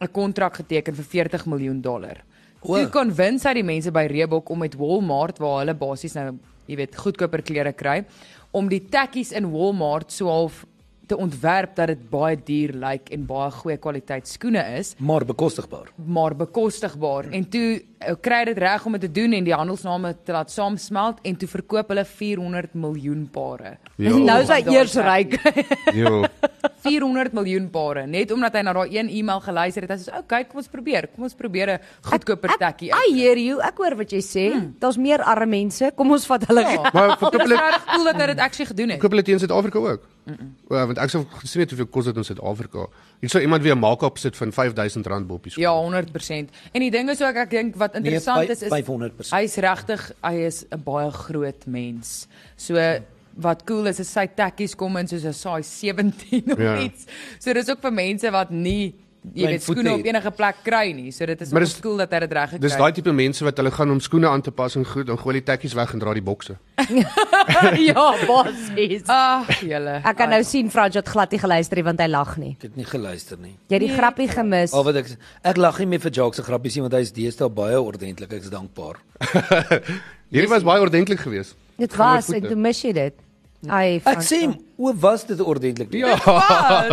Speaker 5: 'n kontrak geteken vir 40 miljoen dollar.
Speaker 4: O.
Speaker 5: Toe konwins hy die mense by Reebok om met Walmart waar hulle basies nou, jy weet, goedkoper klere kry, om die tekkies in Walmart so half te ontwerp dat dit baie duur lyk like en baie goeie kwaliteit skoene is,
Speaker 4: Maar bekostigbaar.
Speaker 5: maar bekostigbaar. En toe eh, kry hy dit reg om dit te doen en die handelsname te laat saamsmelt en toe verkoop hulle 400 miljoen pare.
Speaker 3: Jo.
Speaker 2: Nou is hy eers ryk.
Speaker 3: Jo.
Speaker 5: 400 miljoen pare net omdat hy na daai een e-mail geluister het. Hy sê, "Oké, okay, kom ons probeer. Kom ons probeer 'n goedkoper tekkie."
Speaker 2: I hear you. Ek hoor wat jy sê. Daar's meer arme mense. Kom ons vat hulle.
Speaker 5: Ja.
Speaker 3: Maar verkoop
Speaker 5: Dit is
Speaker 3: hulle
Speaker 5: reg cool dat hy dit actually gedoen het.
Speaker 3: verkoop hulle dit in Suid-Afrika ook. Ja, want ek sou gesien het hoeveel kos dit in Suid-Afrika. Hier sou iemand weer 'n maak-up sit van R5000 boppies.
Speaker 5: Ja, 100%. En die ding is ook ek dink wat interessant
Speaker 4: Nee,
Speaker 5: is is
Speaker 4: vyf- 500%.
Speaker 5: Hy is regtig hy is 'n baie groot mens. So wat cool is is sy tekkies kom in soos 'n size 17 of
Speaker 3: Ja.
Speaker 5: ja. iets. So dis ook vir mense wat nie jy
Speaker 4: Klein
Speaker 5: weet
Speaker 4: voete
Speaker 5: skoene op
Speaker 4: het.
Speaker 5: enige plek kry nie. So dit is
Speaker 3: Maar
Speaker 5: maar
Speaker 3: dis-
Speaker 5: cool dat hy dit reg gekry
Speaker 3: Dis
Speaker 5: het.
Speaker 3: daai tipe mense wat hulle gaan om skoene aan te pas en goed, dan gooi hulle die tekkies weg en dra die bokse.
Speaker 2: ja, basies.
Speaker 5: Ag, julle.
Speaker 2: Ek kan nou sien Frans het glad nie geluister nie want hy lag nie.
Speaker 4: Ek het nie geluister nie.
Speaker 2: Jy het
Speaker 5: Nee.
Speaker 2: die grappie gemis.
Speaker 4: Al wat ek ek lag nie meer vir Jacques se grappies nie want hy is deesdae baie ordentlik. Ek is dankbaar.
Speaker 3: Hierdie was baie ordentlik geweest.
Speaker 2: Dit
Speaker 3: Gaan oor
Speaker 2: was en
Speaker 3: voete.
Speaker 2: toe mis jy dit.
Speaker 5: Nee.
Speaker 2: Ai,
Speaker 4: Ek
Speaker 2: Frans,
Speaker 4: sê hom, o, was dit ordentlik? nie?
Speaker 3: Ja.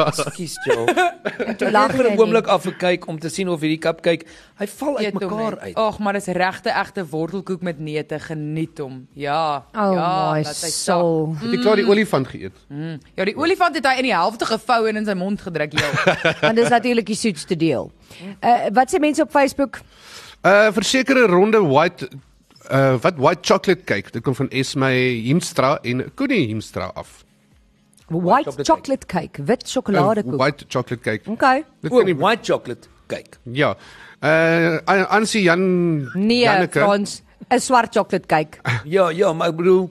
Speaker 4: Ekskuus Jacques.
Speaker 2: toe lag
Speaker 4: Lag vir
Speaker 2: jy
Speaker 4: 'n oomblik
Speaker 2: nie.
Speaker 4: af gekyk om te sien of hierdie cupcake, hy val uit
Speaker 5: Eet hom
Speaker 4: mekaar
Speaker 5: net.
Speaker 4: uit.
Speaker 5: Ag, maar dis regte egte wortelkoek met neute, geniet hom. Ja.
Speaker 2: Oh
Speaker 5: ja,
Speaker 2: my
Speaker 5: laat hy sak.
Speaker 2: soul.
Speaker 3: Het jy klaar
Speaker 5: Mm.
Speaker 3: die olifant geëet?
Speaker 5: Ja, die olifant het hy in die helfte gevou en in sy mond gedruk. Ja.
Speaker 2: Want dis natuurlik die soetste deel. Uh wat sê mense op Facebook?
Speaker 3: Uh versekerde ronde white uh wat white chocolate cake. Dit kom van Esmay Himstra en Connie Himstra af.
Speaker 2: White chocolate cake, wit
Speaker 3: Uh,
Speaker 2: sjokoladekoek.
Speaker 3: white chocolate cake.
Speaker 2: Okay.
Speaker 3: Dit
Speaker 4: O,
Speaker 3: kan nie
Speaker 4: white chocolate cake.
Speaker 3: Ja. Uh An- Ansie Jan
Speaker 2: Nee,
Speaker 3: Janneke.
Speaker 2: Frans, 'n swart chocolate cake.
Speaker 4: Ja, ja, maar ek bedoel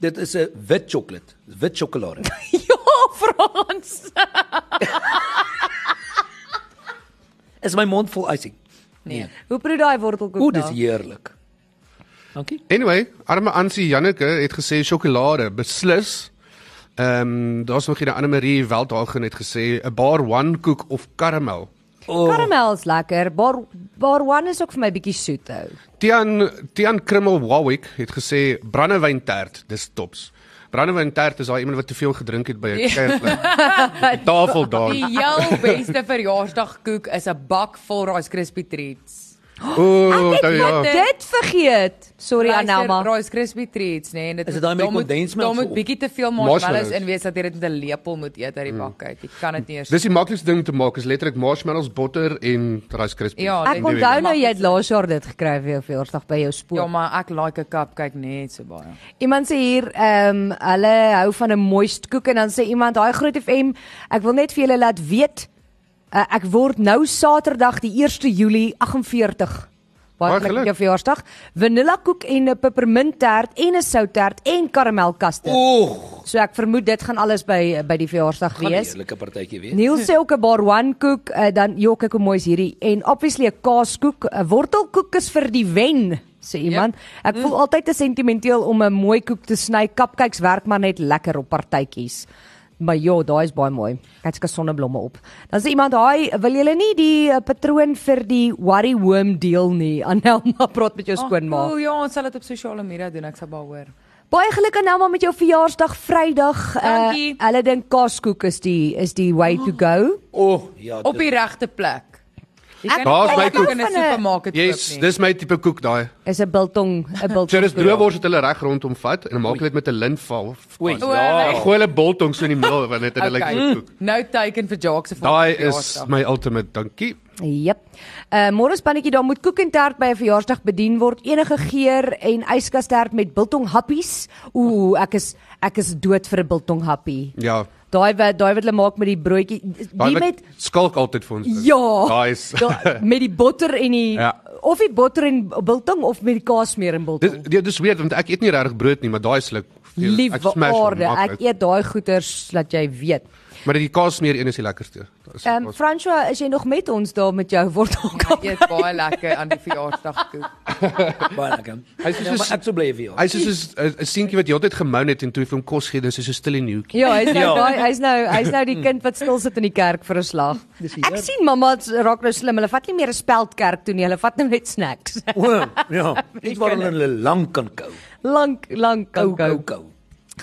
Speaker 4: dit is 'n wit chocolate, wit sjokolade.
Speaker 2: ja, Frans.
Speaker 4: Is my mond vol icing.
Speaker 5: Nee.
Speaker 2: Hoe proe daai wortelkoek?
Speaker 4: O, dis
Speaker 2: Ja. daar?
Speaker 4: heerlik. Dankie.
Speaker 3: Anyway, arme Ansie Janneke het gesê sjokolade beslis. Ehm daar's nog 'n Anne Marie Veldhagen het gesê 'n bar one koek of karamel.
Speaker 2: Karamel's lekker. Bar bar one is ook vir my bietjie soet ou.
Speaker 3: Tian Tian Krimmel Warwick het gesê brandewyntaart, dis tops. Brandewyntaart is daai iemand wat te veel gedrink het by
Speaker 2: Ja.
Speaker 3: 'n kerk. Tafel daar.
Speaker 5: Die heel beste verjaarsdagkoek is 'n bak vol Rice Krispie treats.
Speaker 3: Ooh,
Speaker 2: Ek het
Speaker 3: daai
Speaker 2: ja.
Speaker 3: ja.
Speaker 2: dit vergeet. Sorry Anelma.
Speaker 5: Rice Krispie treats, nee, en dit
Speaker 4: Is dit
Speaker 5: moet-
Speaker 4: daai met die
Speaker 5: daar moet-
Speaker 4: kondensmelk
Speaker 5: Daar moet
Speaker 4: op?
Speaker 5: bietjie te veel marshmallows
Speaker 3: Marshmallows. Hmm.
Speaker 5: in wees dat jy dit met 'n lepel moet eet uit die bak uit. Jy kan dit nie eers.
Speaker 3: Dis die maklikste ding te maak is letterlik marshmallows, botter en Rice Krispies.
Speaker 5: Ja,
Speaker 2: Ek
Speaker 5: dit-
Speaker 2: onthou nou jy het
Speaker 5: Maklik.
Speaker 2: laas jaar dit gekry vir jou verjaarsdag by jou spoor.
Speaker 5: Ja, maar ek like 'n cupcake net so baie.
Speaker 2: Iemand sê hier, ehm hulle hou van 'n mooi koek en dan sê iemand, "Daai Groot FM, ek wil net vir julle laat weet, uh, ek word nou Saterdag die 1 Julie 48
Speaker 3: Baie
Speaker 2: Baie geluk
Speaker 3: geluk.
Speaker 2: met jou verjaarsdag. Vanilla koek en 'n pepperminttert en 'n souttert en karamelkaste.
Speaker 4: Oeg,
Speaker 2: So ek vermoed dit gaan alles by eh, by die verjaarsdag
Speaker 4: gaan 'n
Speaker 2: wees. Nee.
Speaker 4: eerlike partytjie wees.
Speaker 2: Neil sê ook 'n bar one koek, uh, dan jo kyk hoe mooi is hierdie en obviously 'n kaaskoek, 'n wortelkoek is vir die wen, sê iemand. Ek voel altyd te sentimenteel om 'n mooi koek te sny. Kapkyks werk maar net lekker op partytjies. Maar ja, daai is baie mooi. Kyk se sonneblomme op. Dan sê iemand, "Haai, wil julle nie die uh, patroon vir die worry worm deel nie?" Anelma praat met jou skoonma.
Speaker 5: O, cool, ja, ons sal dit op sosiale media doen, ek sal baie hoor.
Speaker 2: Baie geluk aan Elma met jou verjaarsdag Vrydag. Uh,
Speaker 5: Dankie.
Speaker 2: hulle dink kaaskoek is die is die way to go.
Speaker 4: Oeg, ja.
Speaker 5: Op die
Speaker 4: dit-
Speaker 5: regte plek. Jy
Speaker 2: Ek
Speaker 5: kan
Speaker 3: Daar's
Speaker 5: nie
Speaker 3: my
Speaker 5: kaaskoek
Speaker 3: koek.
Speaker 5: in 'n supermark koop
Speaker 3: Yes,
Speaker 5: nie.
Speaker 3: dis my tipe koek daai.
Speaker 2: Is 'n biltong, 'n biltong.
Speaker 3: So dis droewors wat hulle reg rondom vat en dan maak hulle dit met 'n lintval.
Speaker 4: Oei,
Speaker 5: O,
Speaker 4: ja.
Speaker 5: nee.
Speaker 3: Gooi hulle biltong so in die middel want dit het 'n lekker koek.
Speaker 5: Nou teken vir Jacques se
Speaker 3: Mm. Daai
Speaker 2: Ja,
Speaker 5: volgende
Speaker 3: is
Speaker 5: verjaarsdag.
Speaker 3: my ultimate dankie.
Speaker 2: Jep. Uh môre spannetjie daar moet koek en tart by 'n verjaarsdag bedien word. Enige geur en yskastert met biltong happies. Ooh, ek is ek is dood vir 'n biltong happie.
Speaker 3: Ja.
Speaker 2: Daai wat daai wat hulle maak met die broodjie,
Speaker 3: Daai
Speaker 2: die
Speaker 3: wat
Speaker 2: met
Speaker 3: skalk altyd vir ons. is.
Speaker 2: ja,
Speaker 3: Daai is
Speaker 2: da, met die botter en die
Speaker 3: Ja.
Speaker 2: of die botter en biltong of met die kaasmeer en biltong.
Speaker 3: Dit dit is ja, weird want ek eet nie regtig brood nie, maar daai sluk. ja,
Speaker 2: Liewe aarde, ek eet daai goeters laat jy weet.
Speaker 3: Maar die kaasmeer een is die lekkerste. Dis
Speaker 2: Ehm um,
Speaker 3: um,
Speaker 2: François, is jy nog met ons daar met jou wortelkap?
Speaker 5: Ek eet baie lekker aan die verjaarsdag koek.
Speaker 4: Baie lekker.
Speaker 3: Hy is
Speaker 4: Ja,
Speaker 3: soos-
Speaker 4: maar ek sou bly vir jou.
Speaker 3: Hy is soos 'n 'n seentjie wat heeltyd gemou het en toe van kos gee, dis so stil en hoekie.
Speaker 2: Ja, hy's nou
Speaker 4: Ja.
Speaker 2: daai hy's nou hy's nou die kind wat stil sit in die kerk vir 'n slag. Ek sien mamma raak nou slim. Hulle vat nie meer 'n speld kerk toe nie. Hulle vat nou net snacks.
Speaker 4: O, ja. Iets wat hulle lank kan kou.
Speaker 2: Lank lank
Speaker 4: Kou, kou,
Speaker 2: kankou.
Speaker 4: kou.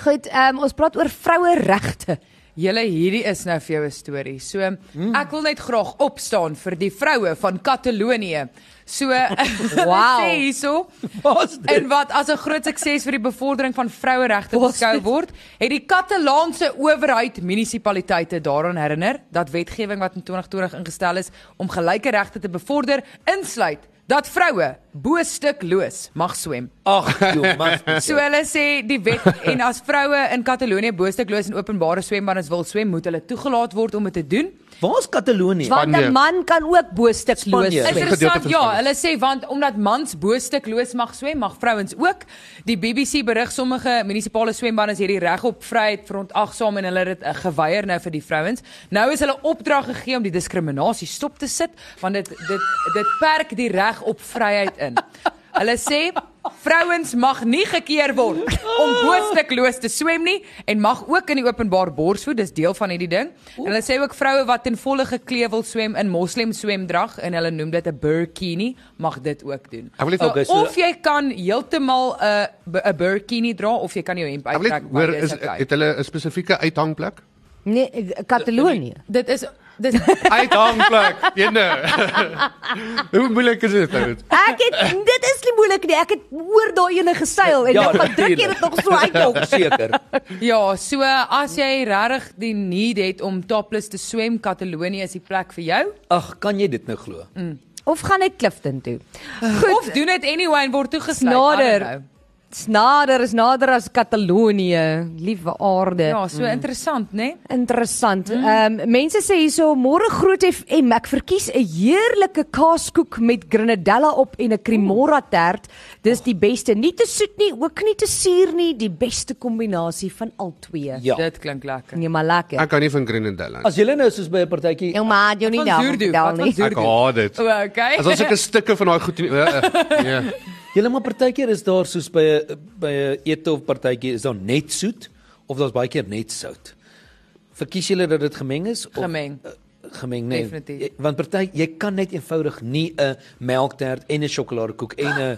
Speaker 2: Goed, ehm um, ons praat oor vroueregte.
Speaker 5: Julle hierdie is nou vir jou 'n storie. So ek wil net graag opstaan vir die vroue van Katalonië. So
Speaker 2: Wow.
Speaker 5: sê hierso
Speaker 4: Wat is dit?
Speaker 5: en wat as 'n groot sukses vir die bevordering van vroueregte beskou word, het die Catalaanse owerheid munisipaliteite daaraan herinner dat wetgewing wat in 2020 ingestel is om gelyke regte te bevorder, insluit dat vroue bo stukloos mag swem.
Speaker 4: Ag, joh, man.
Speaker 3: Ja.
Speaker 5: So hulle sê die wet en as vroue in Katalonië boostekloos in openbare swembaddens wil swem, moet hulle toegelaat word om dit te doen.
Speaker 4: Waar's Katalonië?
Speaker 2: Want 'n
Speaker 3: Spanje.
Speaker 2: man kan ook boostikloos
Speaker 4: Spanje.
Speaker 5: Is
Speaker 2: wees.
Speaker 3: Gedeelte
Speaker 5: interessant,
Speaker 3: van
Speaker 5: ja,
Speaker 3: swem.
Speaker 5: hulle sê want omdat mans boostekloos mag swem, mag vrouens ook. Die BBC berig sommige munisipale swembaddens hierdie reg op vryheid verontagsaam en hulle het dit eh, geweier nou vir die vrouens. Nou is hulle opdrag gegee om die diskriminasie stop te sit want dit dit dit perk die reg op vryheid in. Hulle sê vrouens mag nie gekeer word om boostikloos te swem nie en mag ook in die openbaar borsvoed, dis deel van hierdie ding. En hulle sê ook vroue wat ten volle geklee wil swem in moslem swemdrag en hulle noem dit 'n burkini, mag dit ook doen.
Speaker 3: Ek wil net eh,
Speaker 5: So,
Speaker 4: Okay, so-
Speaker 5: of jy kan heeltemal 'n b- 'n burkini dra of jy kan jou hemp
Speaker 3: Ek wil net
Speaker 5: uittrek.
Speaker 3: hoor
Speaker 5: want
Speaker 3: is
Speaker 5: dis okay.
Speaker 3: het hulle 'n spesifieke uithangplek?
Speaker 2: Nee, Katalonië.
Speaker 5: Dit is dis
Speaker 3: Uithangplek. Jene. Hoe moeilik is dit nou?
Speaker 2: Ek het dit is nie moeilik nie. Ek het oor daai ene geseil en
Speaker 4: Ja,
Speaker 2: dan gaan druk jy
Speaker 4: natuurlijk.
Speaker 2: dit nog so uit jou.
Speaker 4: Ook seker.
Speaker 5: Ja, so as jy regtig die need het om topless te swem, Katalonië is die plek vir jou.
Speaker 4: Ag, kan jy dit nou glo?
Speaker 2: Of gaan hy Clifton toe?
Speaker 5: Of doen dit anyway en word toegesluit. I don't
Speaker 2: Nader.
Speaker 5: know.
Speaker 2: Dis Nader is nader as Katalonië. Liewe aarde.
Speaker 5: Ja, so interessant, né? Nee?
Speaker 2: Interessant.
Speaker 4: Mm.
Speaker 2: Ehm um, mense sê hierso môre groot FM, ek verkies 'n heerlike kaaskoek met grenadella op en 'n cremora tert. Dis die beste, nie te soet nie, ook nie te suur nie, die beste kombinasie van al twee.
Speaker 4: Ja.
Speaker 5: Dit klink lekker.
Speaker 2: Nee, maar lekker.
Speaker 3: Ek kan nie van Grenadella. nie.
Speaker 4: As jy nou soos by 'n partytjie
Speaker 2: Jou ma, jou nie
Speaker 5: Van
Speaker 2: daar.
Speaker 5: Zuurdoek,
Speaker 2: vertel
Speaker 5: wat van
Speaker 2: nie.
Speaker 5: Zuurdoek?
Speaker 3: Ek haat dit.
Speaker 5: O, okay.
Speaker 3: As ons sulke stukke van daai goed in- eh, eh, nee.
Speaker 4: Julle maar partykeer is daar soos by 'n by 'n ete of partytjie is daar net soet of daar's baie keer net sout. Verkies julle dat dit gemeng is of
Speaker 5: Gemeng.
Speaker 4: Eh, gemeng nee.
Speaker 5: Definitief.
Speaker 4: Jy- Want party jy kan net eenvoudig nie 'n melktert en 'n sjokoladekoek en 'n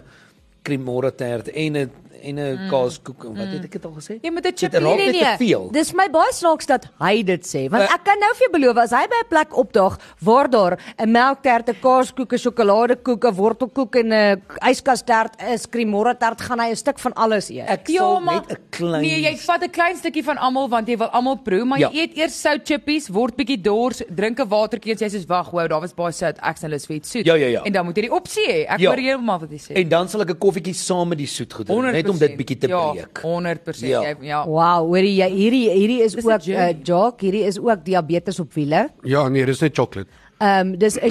Speaker 4: cremora tert en 'n en 'n
Speaker 5: Mm.
Speaker 4: kaaskoek en wat het ek dit al gesê?
Speaker 5: Jy moet 'n
Speaker 4: Dit
Speaker 5: chipie-
Speaker 4: raak net
Speaker 5: nee.
Speaker 4: te veel.
Speaker 2: Nee,
Speaker 4: Eh.
Speaker 2: Dis my baie snaaks dat hy dit sê, want ek kan nou vir jou beloof as hy by 'n plek opdaag waar daar 'n melktert, 'n kaaskoeke, sjokoladekoeke, wortelkoek en 'n yskastert is, kremorratert, gaan hy 'n stuk van alles eet.
Speaker 4: Ek
Speaker 5: Ja,
Speaker 4: sal
Speaker 5: maar-
Speaker 4: net 'n klein
Speaker 5: Nee, jy vat 'n klein stukkie van almal want jy wil almal proe, maar jy
Speaker 4: Ja.
Speaker 5: eet eers sout chippies, word bietjie dors, drink 'n watertjie en jy sê soos wag, wow, daar was baie sout, ek's nou lus vir iets soet.
Speaker 4: Ja, ja, ja.
Speaker 5: En dan moet jy die opsie hê. Ek
Speaker 4: Ja.
Speaker 5: hoor heeltemal wat jy sê.
Speaker 4: En dan sal ek 'n koffietjie saam met die soet goed drink, net om dit bietjie te
Speaker 5: ja,
Speaker 4: breek.
Speaker 5: 100%.
Speaker 4: Ja.
Speaker 5: Jy, ja.
Speaker 2: Wow, hoorie, jy- hierdie hierdie is
Speaker 5: Dis 'n
Speaker 2: ook 'n uh,
Speaker 5: journey.
Speaker 2: joke, hierdie is ook diabetes op wiele.
Speaker 3: Ja, nee, dis net chocolate.
Speaker 2: Ehm dis 'n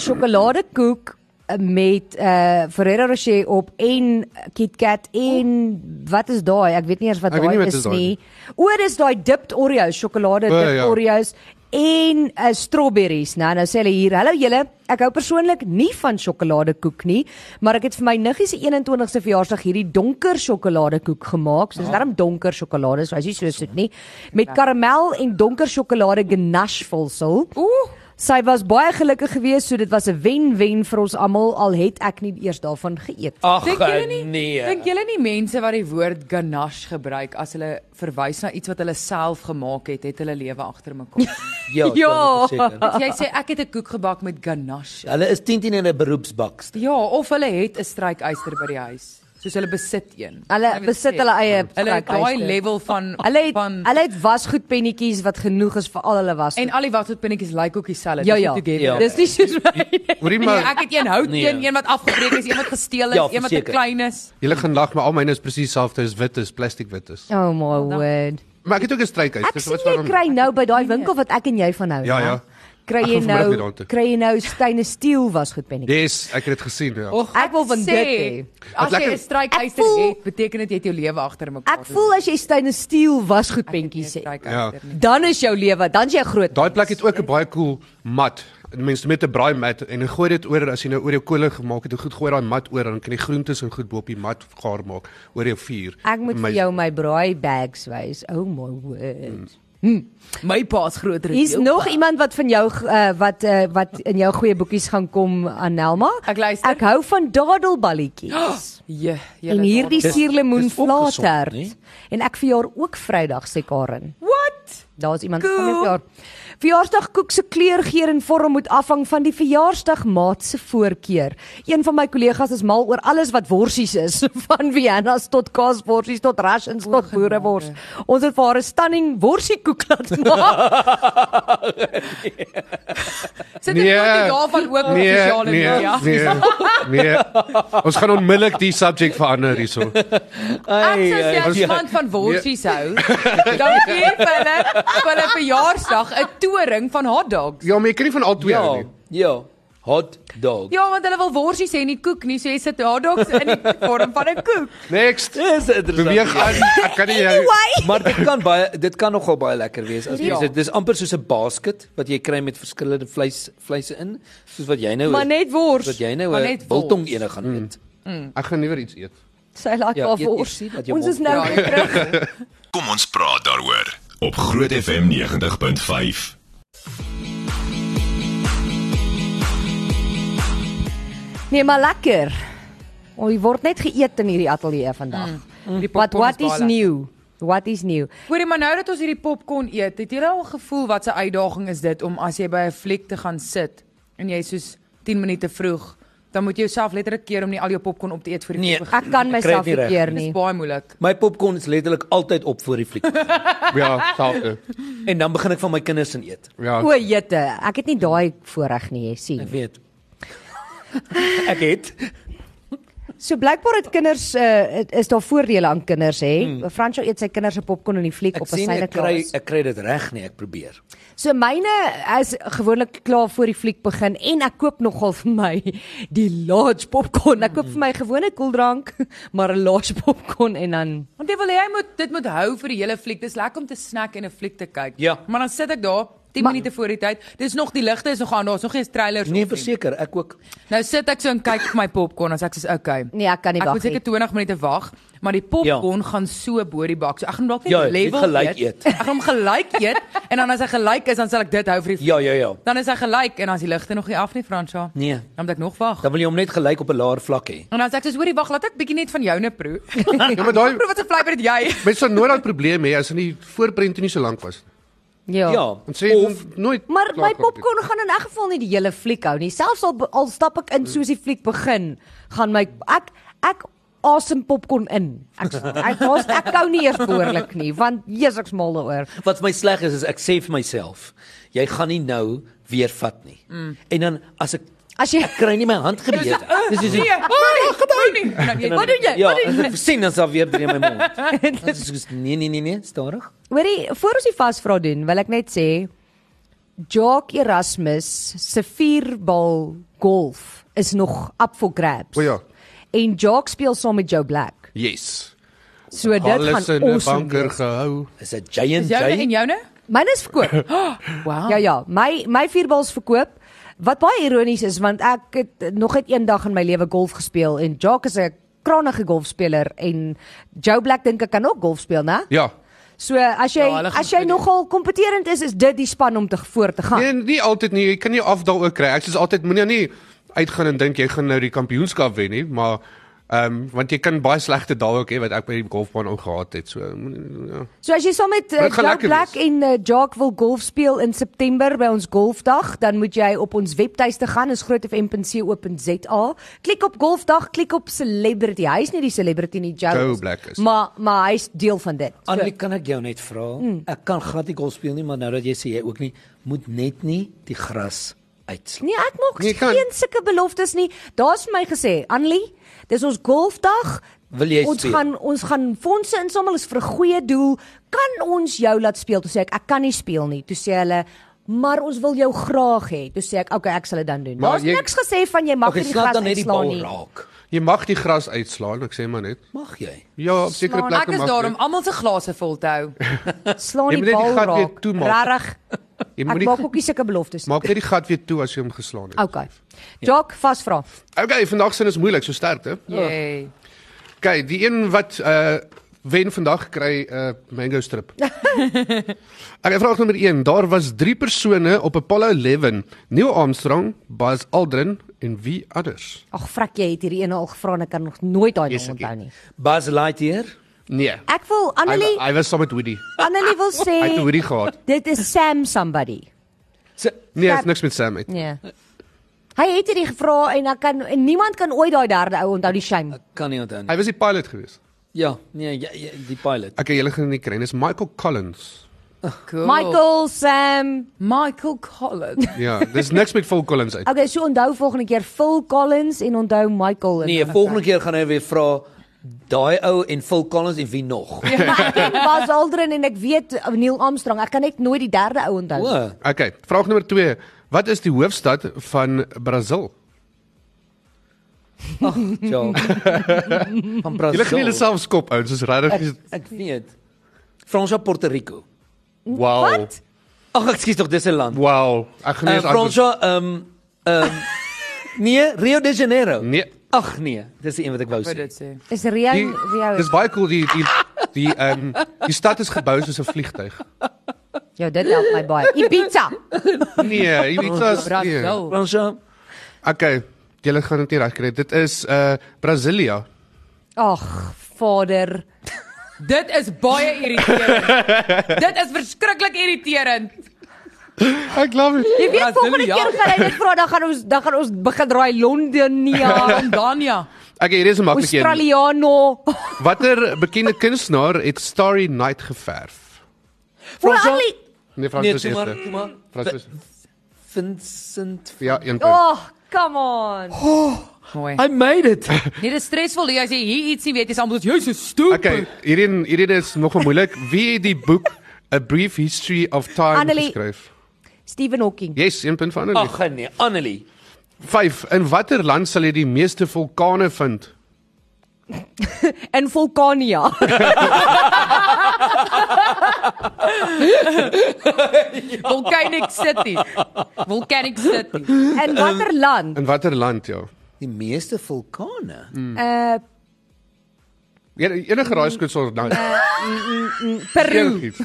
Speaker 2: sjokoladekoek met eh uh, Ferrero Rocher op en Kit Kat en wat is daai? Ek weet nie eers wat
Speaker 3: Ek weet nie
Speaker 2: daai
Speaker 3: wat
Speaker 2: is,
Speaker 3: is daai
Speaker 2: nie. O, dis daai dipped Oreos, sjokolade
Speaker 3: O,
Speaker 2: dipped
Speaker 3: ja.
Speaker 2: Oreos en uh, strawberries. Nou nou sê hulle hier, hallo julle, ek hou persoonlik nie van sjokoladekoek nie, maar ek het vir my niggie se 21ste verjaarsdag hierdie donker sjokoladekoek gemaak. So dis darm donker sjokolade, so as jy so sit nie, met
Speaker 3: Ja.
Speaker 2: karamel en donker sjokolade ganache vulsel.
Speaker 5: Ooh,
Speaker 2: Sy was baie gelukkig geweest, so dit was 'n wen-wen vir ons almal al het ek nie eers daarvan geëet.
Speaker 4: Ag
Speaker 5: dink julle nie?
Speaker 4: nee.
Speaker 5: Dink julle nie mense wat die woord ganache gebruik as hulle verwys na iets wat hulle self gemaak het, het hulle lewe agter mekaar.
Speaker 4: Ja,
Speaker 5: Ja.
Speaker 4: ja. Seker.
Speaker 5: As jy sê ek het 'n koek gebak met ganache.
Speaker 4: Hulle is 10 10 in 'n beroepsbak.
Speaker 5: Ja, of hulle het 'n strykyster by die huis. Soos hulle besit een.
Speaker 2: Hulle
Speaker 5: Jy weet
Speaker 2: besit
Speaker 5: sê,
Speaker 2: hulle eie
Speaker 5: Hulle het daai
Speaker 2: strykyster.
Speaker 5: level van
Speaker 2: Hulle het
Speaker 5: van
Speaker 2: hulle het wasgoed pennetjies wat genoeg is vir al hulle was.
Speaker 5: en al die wasgoedpinnetjies lyk like ook dieselfde.
Speaker 2: ja
Speaker 5: dis
Speaker 2: ja,
Speaker 5: nie together.
Speaker 4: Ja.
Speaker 2: dis nie soos my.
Speaker 3: Hoorie
Speaker 5: Nee,
Speaker 3: maar
Speaker 5: ek het een hout
Speaker 4: Nee.
Speaker 5: een, een wat afgebreek is, een wat gesteel is,
Speaker 4: Ja,
Speaker 5: een wat te
Speaker 4: verseker.
Speaker 5: klein is.
Speaker 3: Julle gaan lag, maar al myne is presies dieselfde, is wit is, plastiek wit is.
Speaker 2: Oh my word.
Speaker 3: Maar ek het ook 'n strykheids,
Speaker 2: Ek sien jy kry nou by daai winkel wat ek en jy van hou.
Speaker 3: Ja,
Speaker 2: né?
Speaker 3: ja.
Speaker 2: Kry
Speaker 3: Ek
Speaker 2: jy
Speaker 3: gaan vanmiddag weer
Speaker 2: nou
Speaker 3: daartoe.
Speaker 2: kry jy nou steine steel wasgoed pennetjies.
Speaker 3: Yes, ek het dit gesien, ja.
Speaker 5: Och,
Speaker 2: Ek wil van dit hê.
Speaker 5: As
Speaker 3: Wat
Speaker 5: jy
Speaker 3: lekker-
Speaker 5: 'n strykyster
Speaker 2: Ek voel-
Speaker 5: het, beteken dit jy het jou lewe agter mekaar.
Speaker 2: Ek voel as jy steine steel wasgoed pennetjies het,
Speaker 3: Ja.
Speaker 5: Ja.
Speaker 2: dan is jou lewe, dan is jy 'n groot.
Speaker 3: Daai plek het ook 'n baie cool mat. Mense met 'n braai mat en dan gooi dit oor as jy nou oor jou kolle gemaak het, dan goed gooi daai mat oor en dan kan jy groentes en goed bo op die mat gaar maak oor jou vuur.
Speaker 2: Ek moet vir
Speaker 3: Amazing.
Speaker 2: jou my braai bags wys. Oh my word.
Speaker 5: My pa's groter as
Speaker 2: Hier's
Speaker 5: jou
Speaker 2: nog
Speaker 5: pa.
Speaker 2: iemand wat van jou uh, wat uh, wat in jou goeie boekies gaan kom aan Nelma.
Speaker 5: Ek luister.
Speaker 2: Ek hou van dadelballetjies.
Speaker 5: Ja,
Speaker 2: en hierdie
Speaker 4: dadel-
Speaker 2: suurlemoen
Speaker 4: Dis- dis ook gesond,
Speaker 2: flatert.
Speaker 4: nie?
Speaker 2: En ek verjaar ook Vrydag sê Karen.
Speaker 5: What?
Speaker 2: Daar's iemand
Speaker 5: Cool.
Speaker 2: van my verjaar. Verjaarsdagkoek se kleur, geur en vorm moet afhang van die verjaarsdagmaat se voorkeur. Een van my kollegas is mal oor alles wat worsies is, van Vienna's tot kaasworsies tot rations tot boerewors. Ons het vir haar 'n stunning worsiekoek laat maak.
Speaker 5: Sit dit
Speaker 3: Nee.
Speaker 5: nee. daarvan ook op
Speaker 3: Nee,
Speaker 5: sosiale
Speaker 3: nee,
Speaker 5: media.
Speaker 2: ja.
Speaker 3: nee, nee. Ons gaan onmiddellik die subjek verander hierso.
Speaker 5: Ek sou sê as
Speaker 3: ai.
Speaker 5: iemand van worsies hou, dan gee vir hulle vir hulle verjaarsdag 'n toring van hotdogs.
Speaker 3: Ja, maar jy kan nie van al twee hou
Speaker 4: Ja,
Speaker 3: nie.
Speaker 4: ja. Hot dog.
Speaker 5: Ja, want hulle wil worsies hê nie koek nie, so jy sit hotdogs in die vorm van 'n koek.
Speaker 3: Next.
Speaker 4: Dis interessant.
Speaker 3: Beweeg aan. Ek kan nie jou
Speaker 2: Anyway,
Speaker 4: Maar dit kan baie dit kan nogal baie lekker wees as
Speaker 5: Ja.
Speaker 4: jy dit dis amper soos 'n basket wat jy kry met verskillende vleis vleise in, soos wat jy nou
Speaker 5: Maar net wors.
Speaker 4: wat jy nou
Speaker 5: Maar
Speaker 4: 'n
Speaker 5: net wors.
Speaker 4: biltong ene gaan eet.
Speaker 3: Ek gaan liewer iets eet.
Speaker 2: sy laat
Speaker 4: Ja,
Speaker 2: haar
Speaker 4: eet- eet
Speaker 2: wors.
Speaker 4: sien dat jou
Speaker 2: Ons is
Speaker 4: mond-
Speaker 2: nou
Speaker 5: Ja,
Speaker 2: weer terug.
Speaker 1: Kom ons praat daaroor op Groot FM 90.5.
Speaker 2: Nee, maar lekker. O, jy word net geëet in hierdie ateljee vandag.
Speaker 5: Mm. Die
Speaker 2: But
Speaker 5: popcorn
Speaker 2: what
Speaker 5: baie
Speaker 2: is
Speaker 5: lekker.
Speaker 2: new? What is new?
Speaker 5: Hoorie, maar nou dat ons hierdie popcorn eet, het julle al gevoel wat 'n uitdaging is dit om as jy by 'n fliek te gaan sit en jy is soos 10 minute vroeg, dan moet jy jouself letterlik keer om nie al jou popcorn op te eet vir die
Speaker 4: Nee.
Speaker 5: fliek begin.
Speaker 2: Ek kan
Speaker 4: Ek kry
Speaker 2: myself
Speaker 4: dit nie
Speaker 2: nie
Speaker 4: reg.
Speaker 2: keer
Speaker 5: Dit is
Speaker 2: nie.
Speaker 5: baie moeilik.
Speaker 4: My popcorn is letterlik altyd op voor die fliek
Speaker 3: Ja, selfde.
Speaker 4: en dan begin ek van my kinders in eet.
Speaker 3: Ja.
Speaker 2: O, jette, ek het nie daai voorreg nie, jy
Speaker 4: Ek
Speaker 2: sien.
Speaker 4: weet. Ek het
Speaker 2: So blykbaar het kinders uh, is daar voordele aan kinders hè. Mm. Fransjo eet sy kinders se popcorn in die fliek
Speaker 4: ek
Speaker 2: op 'n
Speaker 4: sien
Speaker 2: syne
Speaker 4: ek kry
Speaker 2: klas.
Speaker 4: ek kry dit reg nie, ek probeer.
Speaker 2: So myne is gewoonlik klaar voor die fliek begin en ek koop nogal vir my die large popcorn. Ek koop vir my gewone koeldrank, maar 'n large popcorn en dan
Speaker 5: Want jy wil hê hy moet dit moet hou vir die hele fliek. Dis lekker om te snack en 'n fliek te kyk.
Speaker 4: Ja.
Speaker 5: Maar dan sit ek daar, 10
Speaker 2: Maar-
Speaker 5: minute voor die tyd. Dis nog die ligte is nog aan, daar's nog geen trailers
Speaker 4: Nee,
Speaker 5: of nie.
Speaker 4: verseker, ek ook.
Speaker 5: Nou sit ek so en kyk vir my popcorn en ek sê okay.
Speaker 2: Nee, ek kan nie
Speaker 5: Ek
Speaker 2: wag
Speaker 5: moet seker
Speaker 2: nie.
Speaker 5: 20 minute wag, maar die popcorn gaan so bo die bak. So ek gaan dalk net
Speaker 4: Ja, net
Speaker 5: level
Speaker 4: gelyk eet.
Speaker 5: Ek gaan hom gelyk eet en dan as hy gelyk is, dan sal ek dit hou vir die
Speaker 4: Ja, ja, ja.
Speaker 5: Dan is hy gelyk en dan is die ligte nog nie af nie, Fransha.
Speaker 4: Nee.
Speaker 5: Dan moet ek nog wag.
Speaker 4: Dan wil jy hom net gelyk op 'n laer vlak hê.
Speaker 5: En dan sê ek soos hoorie wag, laat ek bietjie net van joune proe.
Speaker 3: Ja, maar daai
Speaker 5: Proe wat se flavour het jy?
Speaker 3: mense sal nooit daai probleem hê as in die voorprent nie so lank was.
Speaker 2: Ja.
Speaker 4: Ja.
Speaker 3: En sê of, nooit
Speaker 2: Maar
Speaker 3: klaar
Speaker 2: my
Speaker 3: gehad het.
Speaker 2: popcorn gaan in elk geval nie die hele fliek hou nie. Selfs al be- al stap ek
Speaker 3: Eh.
Speaker 2: in soos die fliek begin, gaan my ek ek asem popcorn in. Ek ek was ek kou nie eers behoorlik nie, want Jesus ek's mal daaroor.
Speaker 4: Wat vir my sleg is is ek sê vir myself, jy gaan nie nou weer vat nie. Mm. En dan as ek
Speaker 2: As jy
Speaker 4: ek kry nie my hand gebeer. Dis is
Speaker 5: Nee, hoorie, gedaan. Nou, jy- Wat doen jy?
Speaker 4: Ja,
Speaker 5: Wat doen jy?
Speaker 4: en sien dan sal weer drie in my mond. Dit is soos, nee nee nee nee, stadig.
Speaker 2: Hoorie, voor ons die vasvra doen, wil ek net sê Jock Erasmus se vierbal golf is nog up for grabs.
Speaker 3: O ja.
Speaker 2: En Jock speel saam met Joe Black.
Speaker 3: Yes.
Speaker 2: So dit
Speaker 3: Alles
Speaker 2: gaan
Speaker 3: in 'n
Speaker 2: awesome.
Speaker 3: banker
Speaker 2: wees.
Speaker 3: gehou.
Speaker 4: Is 'n giant
Speaker 5: Joune en
Speaker 4: giant.
Speaker 5: joune?
Speaker 2: Myne is verkoop.
Speaker 5: Wow.
Speaker 2: Ja ja, my my vierbals verkoop. Wat baie ironies is want ek het nog net eendag in my lewe golf gespeel en Jock is 'n kranige golfspeler en Joe Black dink ek kan ook golf speel, né?
Speaker 3: Ja.
Speaker 2: So as jy
Speaker 5: Ja, hulle gaan
Speaker 2: as jy
Speaker 5: goed doen.
Speaker 2: nogal kompeteerend is, is dit die span om te voor te gaan.
Speaker 3: Nee, nie altyd nie. Jy kan nie af daaroor kry. Ek sê altyd moenie nie uitgaan en dink jy gaan nou die kampioenskap wen nie, maar ehm um, want jy kan baie slegte dae ook hê wat ek by die golfbaan ook gehad het. So moenie- ja.
Speaker 2: So as jy saam met uh,
Speaker 3: Dit gaan
Speaker 2: Joe
Speaker 3: lekker
Speaker 2: Black
Speaker 3: wees.
Speaker 2: en uh, Jock wil golf speel in September by ons golfdag, dan moet jy op ons webtuiste gaan, is grootfm.co.za. Klik op golfdag, klik op celebrity. Hy is nie die celebrity nie, Joe.
Speaker 3: Joe Black is.
Speaker 2: Maar maar hy's deel van dit.
Speaker 4: Annelie, kan ek jou net vra? Mm. Ek kan glad nie golf speel nie, maar nou dat jy sê jy ook nie, moet net nie die gras uitslaan.
Speaker 2: Nee, ek maak
Speaker 3: Nee, kan.
Speaker 2: geen sulke beloftes nie. Daar's vir my gesê, Annelie, dis ons golfdag.
Speaker 4: Wil jy
Speaker 2: ons
Speaker 4: speel?
Speaker 2: gaan ons gaan fondse insamel is vir 'n goeie doel. Kan ons jou laat speel? Toe sê ek ek kan nie speel nie. Toe sê hulle maar ons wil jou graag hê. Toe sê ek, okay, ek sal dit dan doen.
Speaker 3: Maar
Speaker 2: Daar's
Speaker 3: jy-
Speaker 2: niks gesê van jy mag
Speaker 4: Okay,
Speaker 2: nie die
Speaker 4: slaat
Speaker 2: gras
Speaker 4: dan net die
Speaker 2: inslaan
Speaker 4: bal
Speaker 2: nie.
Speaker 4: raak.
Speaker 3: Jy mag die gras uitslaan, ek sê maar net.
Speaker 4: Mag jy?
Speaker 3: Ja, op sekere
Speaker 2: Slaan.
Speaker 3: plekke
Speaker 5: Ek is
Speaker 3: mag
Speaker 5: daarom
Speaker 3: jy. Ja.
Speaker 5: almal se glase vol te hou.
Speaker 2: Slaan die
Speaker 3: Jy moet net die
Speaker 2: bal
Speaker 3: gat weer
Speaker 2: raak.
Speaker 3: toemaak.
Speaker 2: Regtig.
Speaker 3: Jy
Speaker 2: Ek
Speaker 3: moenie
Speaker 2: maak ook nie sulke beloftes nie.
Speaker 3: maak net die gat weer toe as jy hom geslaan het.
Speaker 2: Okay. Jock, vasvra.
Speaker 3: Okay, vandag se is moeilik, so sterkte.
Speaker 5: Yay.
Speaker 3: Kyk, die een wat uh wen vandag kry 'n uh, mango strip. okay, vraag nommer 1. Daar was 3 persone op Apollo 11: Neil Armstrong, Buzz Aldrin en wie anders?
Speaker 2: Ag, frak jy het hierdie een al gevra en ek kan nog nooit daai
Speaker 3: Yes,
Speaker 2: naam
Speaker 3: ek
Speaker 2: onthou nie.
Speaker 4: Buzz Lightyear?
Speaker 3: Nee.
Speaker 2: Ek wil
Speaker 3: Hy
Speaker 2: Annelie
Speaker 3: wa- hy was saam met Woody.
Speaker 2: Annelie wil sê
Speaker 3: Hy het Woody gehad.
Speaker 2: Dit is Sam somebody.
Speaker 4: Se
Speaker 3: Nee,
Speaker 2: Sam-
Speaker 3: is niks met Sam uit.
Speaker 2: Nee. Hy het hierdie gevra en dan kan en niemand kan ooit daai derde ou onthou die shame.
Speaker 4: kan nie onthou nie.
Speaker 3: Hy was die pilot gewees.
Speaker 4: Ja, nee, ja, ja, die pilot.
Speaker 3: Okay, julle gaan dit nie kry nie. Dis Michael Collins.
Speaker 5: Cool.
Speaker 2: Michael Sam.
Speaker 5: Michael Collins.
Speaker 3: Ja, dis niks met Phil Collins uit.
Speaker 2: Okay, so onthou volgende keer Phil Collins en onthou Michael. en
Speaker 4: Nee,
Speaker 2: dan-
Speaker 4: volgende keer gaan hy weer vra daai ou en Phil Collins en wie nog?
Speaker 2: Maar ek ken Buzz Aldrin en ek weet eh, Neil Armstrong. Ek kan net nooit die derde ou onthou.
Speaker 4: O,
Speaker 3: Okay, vraag nommer 2. Wat is die hoofstad van Brasil?
Speaker 4: ja. Van
Speaker 3: Julle gaan julle
Speaker 4: Brasil.
Speaker 3: self skop ouens, dis regtig.
Speaker 4: Ek,
Speaker 3: is-
Speaker 4: ek weet. Fransa Puerto Rico.
Speaker 3: Wow.
Speaker 2: Wat?
Speaker 4: Ag, ekskuus tog, dis 'n land.
Speaker 3: Wow, ek gaan
Speaker 4: Uh,
Speaker 3: nie eens antwoord.
Speaker 4: Fransa ehm ehm nee, Rio de Janeiro.
Speaker 3: Nee.
Speaker 4: Ag nee, dis die een wat ek wou
Speaker 5: Wat
Speaker 4: sê.
Speaker 5: dit sê.
Speaker 2: Is Rio
Speaker 3: Die,
Speaker 2: Rio.
Speaker 3: dis baie cool die die die ehm um, die stad is gebou soos 'n vliegtyg.
Speaker 2: Ja, dit help my baie. Ibiza.
Speaker 3: Nee, Ibiza is nee.
Speaker 5: Brazil.
Speaker 4: Fransa
Speaker 3: Okay, julle gaan dit nie reg kry. Dit is uh Brasilia.
Speaker 2: Ag, vader.
Speaker 5: Dit is baie irriterend. Dit is verskriklik irriterend.
Speaker 3: Ek love it.
Speaker 2: Jy weet volgende
Speaker 5: Brasilia.
Speaker 2: keer gaan hy dit vra dan gaan ons dan gaan ons begin draai Londonia,
Speaker 5: Dania.
Speaker 3: Okay, hier is 'n maklike een.
Speaker 2: Australiano.
Speaker 3: Watter bekende kunstenaar het Starry Night geverf?
Speaker 2: Fransa.
Speaker 4: Fransa-
Speaker 2: Annelie,
Speaker 4: Nee,
Speaker 3: Nee, Fransus
Speaker 4: toe maar, toe
Speaker 3: eerste.
Speaker 4: maar.
Speaker 3: Fransus.
Speaker 4: Vincent.
Speaker 3: Ja, een punt.
Speaker 2: oh, come on.
Speaker 5: Mooi.
Speaker 4: I made it.
Speaker 5: Nee, dit is stresvol hier as jy hier iets nie weet, jy's almal soos Jesus stoep.
Speaker 3: Okay, hierdie hierdie is nogal moeilik. Wie het die boek A Brief History of Time
Speaker 2: Annelie.
Speaker 3: geskryf?
Speaker 2: Stephen Hawking.
Speaker 3: Yes, een punt vir Annelie.
Speaker 4: Ag nee, Annelie.
Speaker 3: 5. In watter land sal jy die meeste vulkane vind?
Speaker 2: in Volcania.
Speaker 5: Volcanic City. Volcanic City.
Speaker 2: In watter land?
Speaker 3: In watter land ja?
Speaker 4: Die meeste vulkane.
Speaker 2: Uh
Speaker 3: En, enige raaiskoetsel nou.
Speaker 2: Peru.
Speaker 3: enigiets.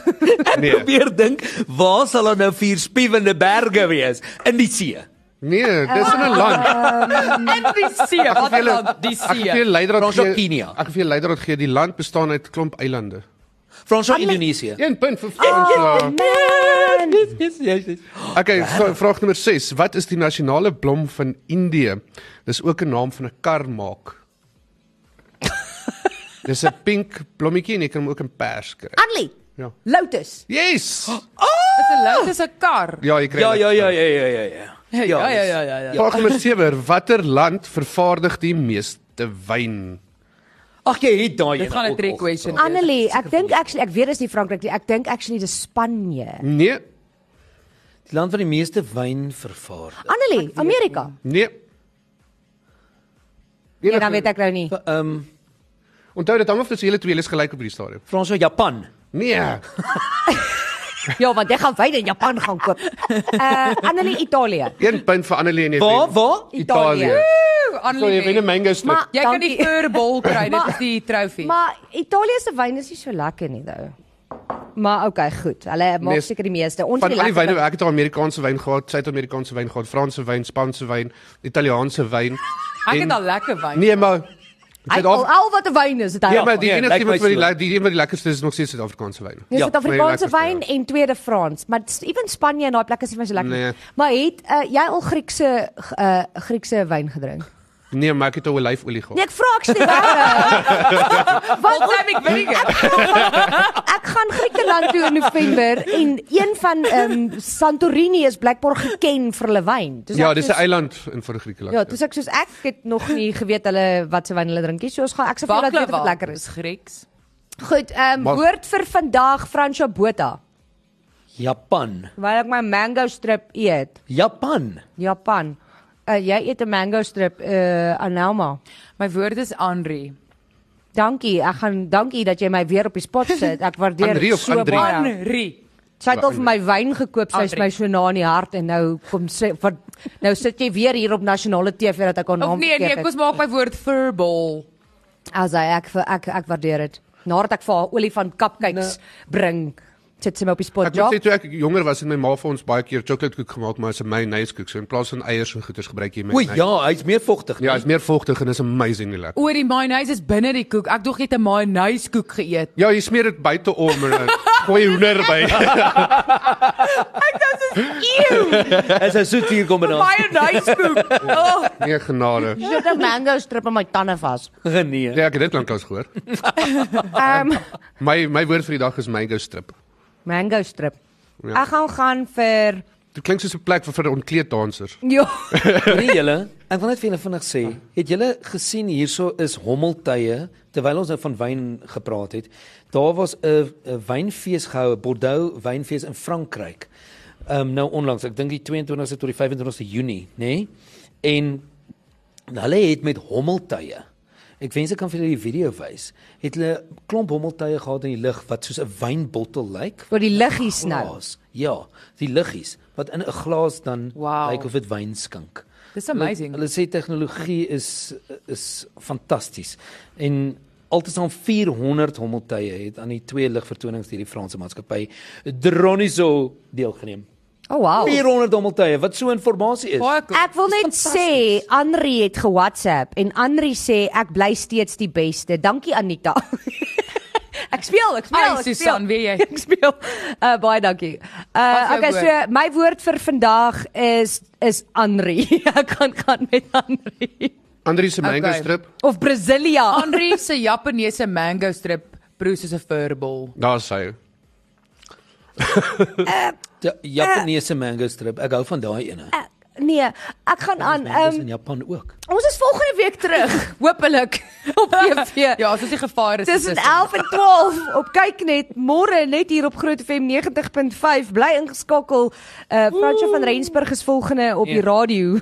Speaker 3: Nee.
Speaker 4: Probeer dink, waar sal daar nou vier spiewende berge wees in die see?
Speaker 3: Nee, dis in 'n
Speaker 2: Eh,
Speaker 3: land.
Speaker 2: Ehm,
Speaker 5: En die see, wat
Speaker 3: vir julle-
Speaker 5: dan die
Speaker 3: Ek gee
Speaker 5: see.
Speaker 3: leidraad
Speaker 4: Ons op
Speaker 3: gee.
Speaker 4: Kenia.
Speaker 3: Ek gee leidraad gee die land bestaan uit klomp eilande.
Speaker 4: Frans of Indonesië?
Speaker 3: 1 punt vir Frans. ja.
Speaker 2: nee. Man.
Speaker 4: Yes, yes, yes.
Speaker 3: Okay, vra- vraag nommer 6. Wat is die nasionale blom van Indië? Dis ook 'n naam van 'n kar maak. Dis 'n pink blommetjie en jy kan hom ook in pers kry.
Speaker 2: Annelie.
Speaker 3: Ja.
Speaker 2: Lotus.
Speaker 3: Yes.
Speaker 5: Dis 'n lou, dis 'n kar.
Speaker 3: Ja, jy kry.
Speaker 4: Ja,
Speaker 3: dit.
Speaker 4: ja, ja, ja, ja, ja, ja.
Speaker 5: Ja, ja, ja, ja, ja.
Speaker 3: Vraag nommer 7. Watter land vervaardig die meeste wyn?
Speaker 4: Ag jy het daai
Speaker 5: Dit
Speaker 4: een
Speaker 5: gaan 'n
Speaker 4: ook
Speaker 5: trick
Speaker 4: al
Speaker 5: question.
Speaker 2: ja,
Speaker 4: gevra.
Speaker 2: Annelie, ek dink actually ek weet dis nie Frankryk nie. Ek dink actually dis Spanje.
Speaker 3: Nee,
Speaker 4: Die land wat die meeste wyn vervaardig.
Speaker 2: Annelie, Amerika.
Speaker 3: nee.
Speaker 2: Ja, dan weet ek nou nie.
Speaker 4: Ehm um,
Speaker 3: Onthou dit hang af tussen julle twee, julle is gelyk op hierdie stadium.
Speaker 4: Frans of Japan.
Speaker 3: Nee.
Speaker 2: Ja, want jy gaan wyn in Japan gaan koop. Uh Annelie, Italië.
Speaker 3: 1 punt vir Annelie en jy
Speaker 4: Waar
Speaker 3: wen.
Speaker 4: waar?
Speaker 2: Italië. Nee.
Speaker 5: Ooh,
Speaker 3: So jy wen 'n
Speaker 5: Annelie.
Speaker 3: mango slip.
Speaker 5: Jy kan die furball kry, dit
Speaker 2: Maar-
Speaker 5: is die trofee.
Speaker 2: Maar Italië se wyn is nie so lekker nie though. Maar okay, goed. Hulle maak
Speaker 3: Mees-
Speaker 2: seker die meeste. Ons
Speaker 3: Van
Speaker 2: het
Speaker 3: al die
Speaker 2: lekker
Speaker 3: wyne,
Speaker 2: wyn.
Speaker 3: ek het al Amerikaanse wyn gehad, Suid-Amerikaanse wyn gehad, Franse wyn, Spaanse wyn, Italiaanse wyn.
Speaker 5: Ek
Speaker 3: en-
Speaker 5: het al lekker wyn.
Speaker 3: Nee, maar
Speaker 2: Hy al,
Speaker 3: Suid-Afrika
Speaker 2: al wat 'n wyn is, dit hy.
Speaker 3: Ja,
Speaker 2: Ja,
Speaker 3: maar die
Speaker 4: ja, lyk
Speaker 3: enigste
Speaker 4: my
Speaker 3: wat vir die
Speaker 4: so.
Speaker 3: le- die een wat die lekkerste is nog steeds Suid-Afrikaanse wyn.
Speaker 2: Dis
Speaker 4: Ja,
Speaker 2: Nee, Suid-Afrikaanse
Speaker 3: maar jy
Speaker 2: wyn en tweede Frans, maar s- ewen Spanje en daai plekke is nie vir so lekker.
Speaker 3: Nee.
Speaker 2: nie. Maar het uh, jy al Griekse uh, Griekse wyn gedrink?
Speaker 3: Nee, maar ek het al olyfolie gehad.
Speaker 2: Nee, ek vra ek sê reg.
Speaker 5: Full time ek weet nie.
Speaker 2: Ek gaan Griekeland toe in November en een van ehm um, Santorini is blykbaar geken vir hulle wyn. Dis
Speaker 3: Ja,
Speaker 2: ek
Speaker 3: dis 'n
Speaker 2: soos-
Speaker 3: eiland in vir Griekeland.
Speaker 2: Ja, dis ek soos ek het nog nie geweet hulle wat se wyn hulle drink nie. So ons gaan ek sê vir julle dat dit
Speaker 5: Baklava
Speaker 2: lekker is.
Speaker 5: is Grieks.
Speaker 2: Goed, ehm
Speaker 3: Maar-
Speaker 2: um, woord vir vandag Fransjo Botha.
Speaker 4: Japan.
Speaker 2: Terwyl ek my mango strip eet,
Speaker 4: Japan.
Speaker 2: Japan. Uh, jy eet 'n mango strip uh Anelma.
Speaker 5: My woord is Henri.
Speaker 2: Dankie. Ek gaan dankie dat jy my weer op die spot sit. Ek waardeer
Speaker 3: Andrie
Speaker 2: dit
Speaker 3: of
Speaker 2: so
Speaker 3: Andrie?
Speaker 2: baie.
Speaker 5: Henri.
Speaker 2: Sy het al vir my wyn gekoop. Sy's
Speaker 5: Andrie.
Speaker 2: my so na in die hart en nou kom sy wat nou sit jy weer hier op nasionale TV dat ek haar
Speaker 5: Of
Speaker 2: naam
Speaker 5: nee, nee,
Speaker 2: verkeerd het.
Speaker 5: kom ons maak my woord furball.
Speaker 2: As hy ek vir- ek ek waardeer dit. Nadat ek vir haar olifant cupcakes bring, sit sy my op die spot.
Speaker 3: Ek moet
Speaker 2: Ja.
Speaker 3: sê toe ek jonger was het my ma vir ons baie keer chocoladekoek gemaak, maar as 'n mayonnaise koek, so in plaas van eiers en goeters gebruik jy
Speaker 4: O
Speaker 3: mayonnaise.
Speaker 4: ja, hy's meer vogtig.
Speaker 3: ja,
Speaker 4: nie?
Speaker 3: is meer vochtig en is amazingly lekker.
Speaker 5: Oor die mayonnaise is binne die koek. Ek dog jy het 'n mayonnaise koek geëet.
Speaker 3: Ja, jy smeer dit buite om en eh, dan gooi jy hoender by.
Speaker 4: Is 'n soet hier kombinasie.
Speaker 5: Mayonnaise koek. Oh,
Speaker 3: Nee, genade.
Speaker 2: Jy het 'n mango strip aan my tande vas.
Speaker 4: Nee.
Speaker 3: Ja, ek het dit lanklaas gehoor.
Speaker 2: Ehm um,
Speaker 3: My my woord vir die dag is mango strip.
Speaker 2: mango strip.
Speaker 3: Ja.
Speaker 2: Ja. Ek gaan gaan vir
Speaker 3: Dit klink soos 'n plek vir vir ontkleeddansers.
Speaker 2: Ja.
Speaker 4: Nee julle, ek wil net vir julle vinnig sê, het julle gesien hierso is hommeltye terwyl ons nou van wyn gepraat het. Daar was 'n 'n wynfees gehou, 'n Bordeaux wynfees in Frankryk. Ehm um, nou onlangs, ek dink die 22ste tot die 25ste Junie, nê? Nee? En hulle het met hommeltye Ek wens ek kan vir julle die video wys. Het hulle klomp hommeltye gehad in die lug wat soos 'n wynbottel lyk
Speaker 2: Vir die liggies nou.
Speaker 4: glas. Ja, die liggies wat in 'n glas dan
Speaker 5: Wow.
Speaker 4: lyk of dit wyn skink.
Speaker 5: Dis amazing.
Speaker 4: Hulle, hulle sê tegnologie is is fantasties. En altesaam 400 hommeltuie het aan die twee ligvertonings deur die Franse maatskappy Dronizo deelgeneem.
Speaker 2: Oh wow.
Speaker 4: 400 hommeltuie wat so informasie is.
Speaker 5: baie cool.
Speaker 2: Ek wil net sê Anri het ge-WhatsApp en Anri sê ek bly steeds die beste. Dankie Anita. ek speel, ek speel,
Speaker 5: Ai,
Speaker 2: ek
Speaker 5: Susan,
Speaker 2: speel.
Speaker 5: weet jy.
Speaker 2: Ek speel. Uh baie dankie.
Speaker 5: Wat
Speaker 2: Uh
Speaker 5: is jou
Speaker 2: okay, so
Speaker 5: woord?
Speaker 2: my woord vir vandag is is Anri. ek gaan gaan met Anri.
Speaker 3: Andri se mango
Speaker 5: Okay.
Speaker 3: strip,
Speaker 2: Of Brasilia.
Speaker 5: Henri se Japaneese mango strip proe soos 'n furball.
Speaker 3: daar's hy.
Speaker 2: Eh,
Speaker 4: Die Japaneese mango strip. Ek hou van daai ene.
Speaker 2: Ek, nee, ek gaan aan.
Speaker 4: Mangoes
Speaker 2: Um,
Speaker 4: nou in Japan ook.
Speaker 2: ons is volgende week terug, hopelik op TV.
Speaker 5: Ja, as ons die gevaar is.
Speaker 2: Tussen
Speaker 5: is dit-
Speaker 2: 11 en 12 op kyk net môre net hier op Groot FM 90.5 bly ingeskakel. Uh Fransjo van Rensburg is volgende op die
Speaker 4: Ja.
Speaker 2: radio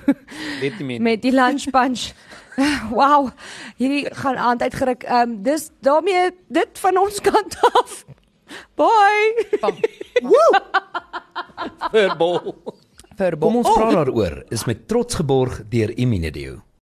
Speaker 4: Weet nie meer.
Speaker 2: met die lunch punch. Wow, hierdie gaan aand uitgeruk. Ehm um, dis daarmee dit van ons kant af. Bye.
Speaker 5: Bam.
Speaker 4: Verbal.
Speaker 5: Vir
Speaker 4: Kom
Speaker 5: bom.
Speaker 4: ons praat daaroor is met trots geborg deur Imine Dio.